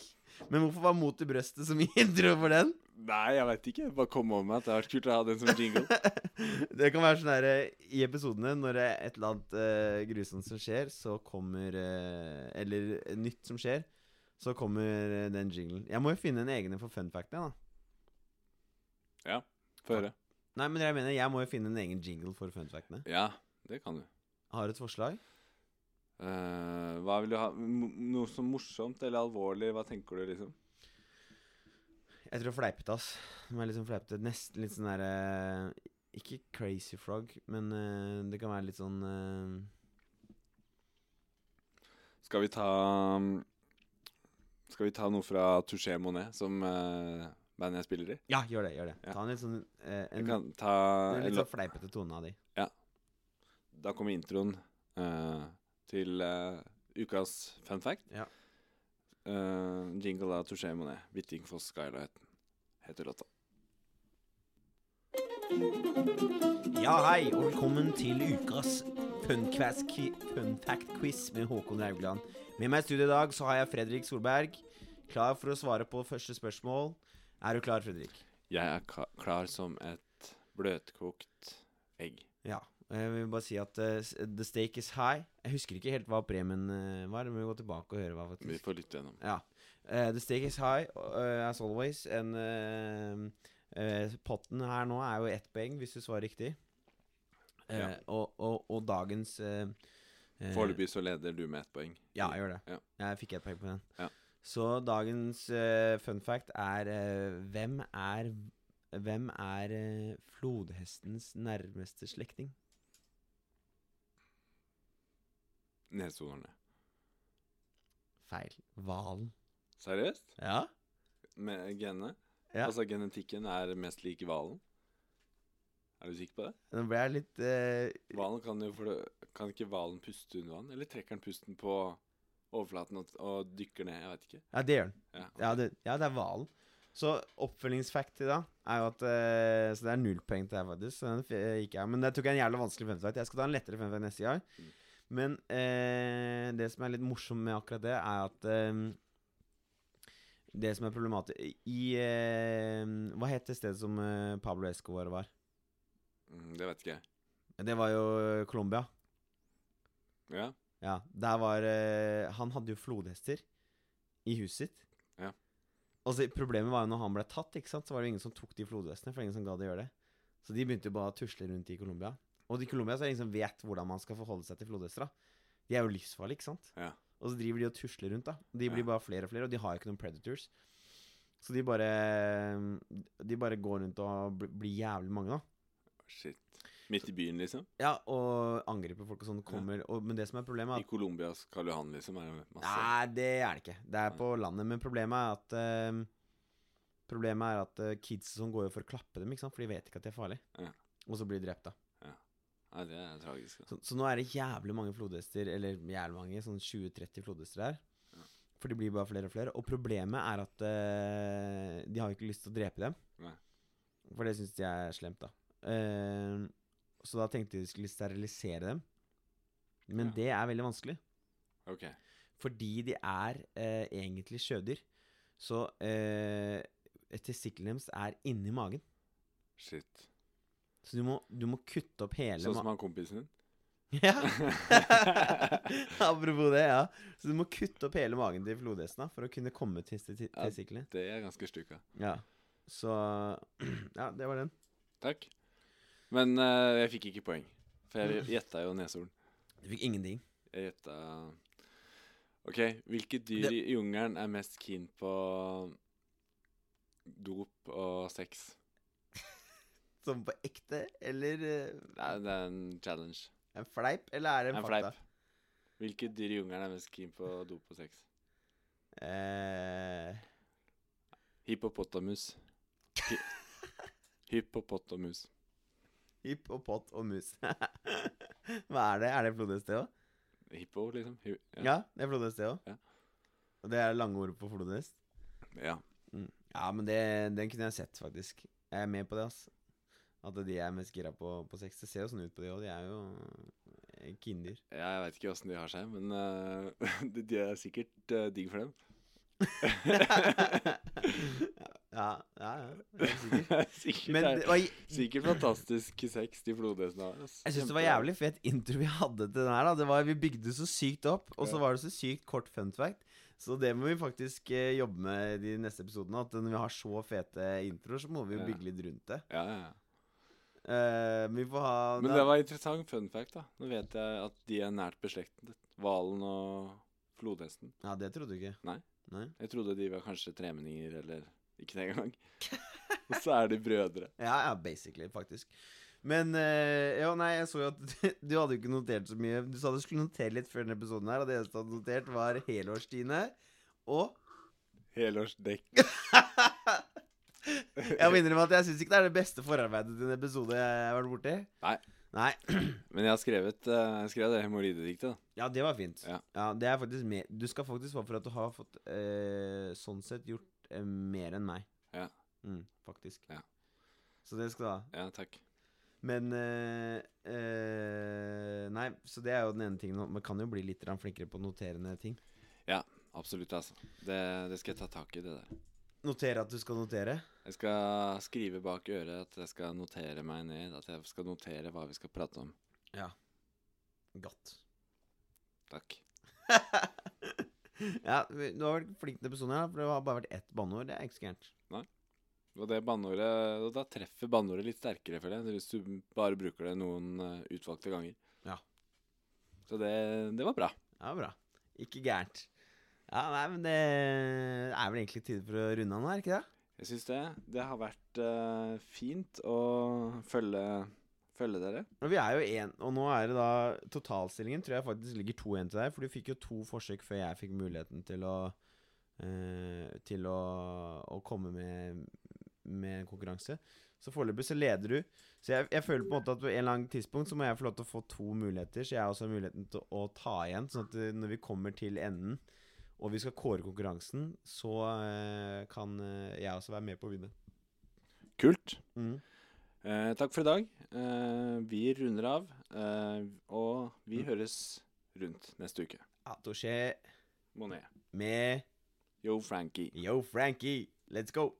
Speaker 1: Men hvorfor var mot i brøstet som intro for den?
Speaker 2: Nei, jeg veit ikke. Bare kom over meg at det har vært kult å ha den som jingle.
Speaker 1: Det kan være sånn her eh, i episodene, når det er et eller annet eh, grusomt som skjer, så kommer eh, Eller nytt som skjer, så kommer eh, den jinglen. Jeg må jo finne en egen en for fun factene, da.
Speaker 2: Få høre.
Speaker 1: Nei, men jeg mener, jeg må jo finne en egen jingle for fun factene.
Speaker 2: Ja, det kan du.
Speaker 1: Har du et forslag?
Speaker 2: Eh, hva vil du ha? Mo- Noe som morsomt eller alvorlig? Hva tenker du, liksom?
Speaker 1: Jeg tror fleipete, ass. De er litt sånn fleipete. Nesten litt sånn derre Ikke crazy frog, men eh, det kan være litt sånn eh,
Speaker 2: Skal vi ta mm, Skal vi ta noe fra Touché Monet, som uh, bandet jeg spiller i?
Speaker 1: Ja, gjør det. gjør det
Speaker 2: Ja.
Speaker 1: Ta en litt sånn eh,
Speaker 2: Jeg
Speaker 1: en,
Speaker 2: kan ta
Speaker 1: Det er
Speaker 2: en sånn-
Speaker 1: litt
Speaker 2: lå-
Speaker 1: sånn fleipete tone av de.
Speaker 2: Da kommer introen eh, til eh, ukas fun fact.
Speaker 1: Ja.
Speaker 2: Eh, jingle av Touché Monet. 'Hvitting for skylighten' heter låta.
Speaker 1: Ja, hei, og velkommen til ukas Fun fact quiz med Håkon Raugland. Med meg i studio i dag så har jeg Fredrik Solberg, klar for å svare på første spørsmål. Er du klar, Fredrik?
Speaker 2: Jeg er ka klar som et bløtkokt egg.
Speaker 1: Ja. og Jeg vil bare si at eh, s- the stake is high. Jeg husker ikke helt hva premien eh, var, men vi må gå tilbake og høre hva faktisk
Speaker 2: Vi får lytte gjennom.
Speaker 1: Ja. Eh, the stake is high, eh, as always. En, eh, eh, potten her nå er jo ett poeng, hvis du svarer riktig. Eh,
Speaker 2: Ja.
Speaker 1: og, og, og dagens uh,
Speaker 2: Foreløpig så leder du med ett poeng.
Speaker 1: Ja, jeg gjør det.
Speaker 2: Ja.
Speaker 1: Jeg fikk ett poeng på den.
Speaker 2: Ja.
Speaker 1: Så dagens eh, fun fact er eh, Hvem er Hvem er eh, flodhestens nærmeste slektning?
Speaker 2: Neshornet.
Speaker 1: Feil. Hvalen.
Speaker 2: Seriøst?
Speaker 1: Ja?
Speaker 2: Med genene?
Speaker 1: Ja.
Speaker 2: Altså genetikken er mest lik hvalen? Er du sikker på det?
Speaker 1: Nå ble jeg litt eh,
Speaker 2: Hvalen kan jo for det, Kan ikke hvalen puste under vann? Eller trekker den pusten på overflaten og, og dykker ned? Jeg veit ikke.
Speaker 1: Ja, det gjør den.
Speaker 2: Ja.
Speaker 1: Ja, det, ja, det er hvalen. Så oppfølgingsfact i dag er jo at eh, Så det er null poeng til deg, faktisk. Så den f- eh, gikk jeg. Men jeg tok en jævla vanskelig femfact. Jeg skal ta en lettere femfact neste gang.
Speaker 2: Mm.
Speaker 1: Men eh, det som er litt morsomt med akkurat det, er at eh, Det som er problematisk I eh, Hva het det stedet som eh, Pablo Escobar var?
Speaker 2: Mm, det veit ikke jeg.
Speaker 1: Det var jo Colombia.
Speaker 2: Ja.
Speaker 1: Ja, der var eh, Han hadde jo flodhester i huset sitt.
Speaker 2: Ja.
Speaker 1: Og så Problemet var jo når han ble tatt, ikke sant? så var det jo ingen som tok de flodhestene. For ingen som ga det å gjøre det. Så de begynte jo bare å tusle rundt i Colombia. Og i Colombia så er det ingen som vet hvordan man skal forholde seg til flodhester. da. De er jo livsfarlige, ikke sant?
Speaker 2: Ja.
Speaker 1: Og så driver de og tusler rundt, da. De blir
Speaker 2: Ja.
Speaker 1: bare flere og flere, og de har jo ikke noen predators. Så de bare De bare går rundt og bl- blir jævlig mange, da.
Speaker 2: Shit. Midt i byen, liksom?
Speaker 1: Ja, og angriper folk og sånn. Kommer, og, men det som er problemet, er at
Speaker 2: I Colombias Karl Johan, liksom? Er det masse
Speaker 1: Nei, det er det ikke. Det er
Speaker 2: Nei.
Speaker 1: på landet. Men problemet er at eh, Problemet er at eh, kids som går jo for å klappe dem, ikke sant? for de vet ikke at de er farlige.
Speaker 2: Ja.
Speaker 1: Og så blir de drept, da.
Speaker 2: Nei, det er tragisk. altså. da.
Speaker 1: Så, så nå er det jævlig mange flodhester, eller jævlig mange, sånn 20-30 flodhester her.
Speaker 2: Ja.
Speaker 1: For de blir bare flere og flere. Og problemet er at eh, de har jo ikke lyst til å drepe dem.
Speaker 2: Nei.
Speaker 1: For det syns de er slemt, da. Eh, så da tenkte de skulle sterilisere dem. Men
Speaker 2: Ja.
Speaker 1: det er veldig vanskelig.
Speaker 2: Ok.
Speaker 1: Fordi de er eh, egentlig sjødyr. Så eh, testiklene deres er inni magen.
Speaker 2: Shit.
Speaker 1: Så du må, du må kutte opp hele
Speaker 2: Sånn
Speaker 1: ma-
Speaker 2: som han kompisen din.
Speaker 1: Ja. Apropos det, ja. Så du må kutte opp hele magen til flodhesten da, for å kunne komme til tes- til
Speaker 2: Ja.
Speaker 1: testiklene.
Speaker 2: Det er ganske stygt.
Speaker 1: Ja. Så Ja, det var den.
Speaker 2: Takk. Men eh, jeg fikk ikke poeng, for jeg gjetta jo neshorn.
Speaker 1: Du fikk ingenting.
Speaker 2: Jeg gjetta OK, hvilke dyr
Speaker 1: Det-
Speaker 2: i jungelen er mest keen på dop og sex?
Speaker 1: Som på ekte, eller eh,
Speaker 2: Nei, det er en challenge.
Speaker 1: en fleip, eller er det en,
Speaker 2: En, en
Speaker 1: fakta?
Speaker 2: fleip. Hvilke dyr i jungelen er mest keen på dop og sex?
Speaker 1: Eh,
Speaker 2: Hippopotamus. Hy Hippopotamus.
Speaker 1: hipp og pott og mus. Hva er det? Er det flodhest, det òg?
Speaker 2: Hippo, liksom? Hy
Speaker 1: Ja. det er flodhest, det òg.
Speaker 2: Ja.
Speaker 1: Og det er lange ord på flodhest?
Speaker 2: ja.
Speaker 1: Ja, men det, den kunne jeg sett, faktisk. Jeg er med på det, ass. At de er mest gira på, på sex. Det ser jo sånn ut på de òg. De er jo eh, kindyr.
Speaker 2: Ja, jeg veit ikke åssen de har seg, men eh, de de er sikkert eh, digg for dem.
Speaker 1: ja, ja, ja. Jeg er sikker.
Speaker 2: sikkert,
Speaker 1: Men
Speaker 2: er-
Speaker 1: det var,
Speaker 2: sikkert fantastisk sex de flodhestene har. altså. ass.
Speaker 1: jeg syns det var
Speaker 2: Kjempebra.
Speaker 1: jævlig fet intro vi hadde til den her. da det var, Vi bygde det så sykt opp, og så
Speaker 2: Ja.
Speaker 1: var det så sykt kort fun fact. Så det må vi faktisk eh, jobbe med de neste episodene. At når vi har så fete introer, så må vi jo
Speaker 2: Ja.
Speaker 1: bygge litt rundt det.
Speaker 2: Ja, ja. ja.
Speaker 1: Eh, men vi får ha
Speaker 2: Men det var interessant fun fact, da. Nå vet jeg at de er nært beslektet. Hvalen og flodhesten.
Speaker 1: Ja, det trodde du ikke.
Speaker 2: Nei.
Speaker 1: Nei.
Speaker 2: Jeg trodde de var kanskje tremenninger, eller ikke det engang. Og så er de brødre.
Speaker 1: Ja, ja, basically, faktisk. Men eh, ja, nei, jeg så jo at du hadde jo ikke notert så mye. Du sa du skulle notere litt før denne episoden her, og det eneste du hadde notert, var helårstine og
Speaker 2: Helårsdekk.
Speaker 1: Jeg må innrømme at jeg syns ikke det er det beste forarbeidet til en episode jeg har vært borti.
Speaker 2: Nei.
Speaker 1: Nei.
Speaker 2: Men jeg har skrevet eh, Jeg skrev det hemoroidediktet, da.
Speaker 1: Ja, det var fint.
Speaker 2: Ja.
Speaker 1: det er faktisk mer Du skal faktisk få for at du har fått eh, sånn sett gjort eh, mer enn meg.
Speaker 2: Ja.
Speaker 1: Mm, faktisk.
Speaker 2: Ja.
Speaker 1: Så det skal du ha.
Speaker 2: Ja, takk.
Speaker 1: Men eh, eh, Nei, så det er jo den ene tingen. Man kan jo bli litt grann flinkere på noterende ting.
Speaker 2: Absolutt, altså. Det, det skal jeg ta tak i, det der.
Speaker 1: Notere at du skal notere.
Speaker 2: Jeg skal skrive bak øret at jeg skal notere meg ned, at jeg skal notere hva vi skal prate om.
Speaker 1: Godt.
Speaker 2: Takk.
Speaker 1: ja, vi- du har vært flink til episoden her, for det har bare vært ett banneord. Det er ikke så gærent.
Speaker 2: Og det banneordet Og da treffer banneordet litt sterkere, føler jeg, hvis du bare bruker det noen eh, utvalgte ganger.
Speaker 1: Ja.
Speaker 2: Så det, det var bra.
Speaker 1: Ja, bra. Ikke gærent. Ja, nei, men det er vel egentlig tid for å runde av nå, er det ikke det?
Speaker 2: Jeg syns det. Det har vært eh, fint å følge, følge dere.
Speaker 1: Og vi er jo én, og nå er det da totalstillingen tror jeg faktisk ligger 2-1 til deg. For du fikk jo to forsøk før jeg fikk muligheten til å eh, Til å, å komme med, med en konkurranse. Så foreløpig så leder du. Så jeg, jeg føler på en måte at på en eller annen tidspunkt så må jeg få lov til å få to muligheter, så jeg også har muligheten til å ta igjen. Sånn at eh, når vi kommer til enden, og vi skal kåre konkurransen, så eh, kan eh, jeg også være med på å vinne.
Speaker 2: Kult.
Speaker 1: Mm.
Speaker 2: Eh, takk for i dag. Eh, vi runder av, eh, og vi høres rundt neste uke.
Speaker 1: Atoshe
Speaker 2: Monet.
Speaker 1: med
Speaker 2: Yo, Frankie.
Speaker 1: Yo, Frankie, let's go!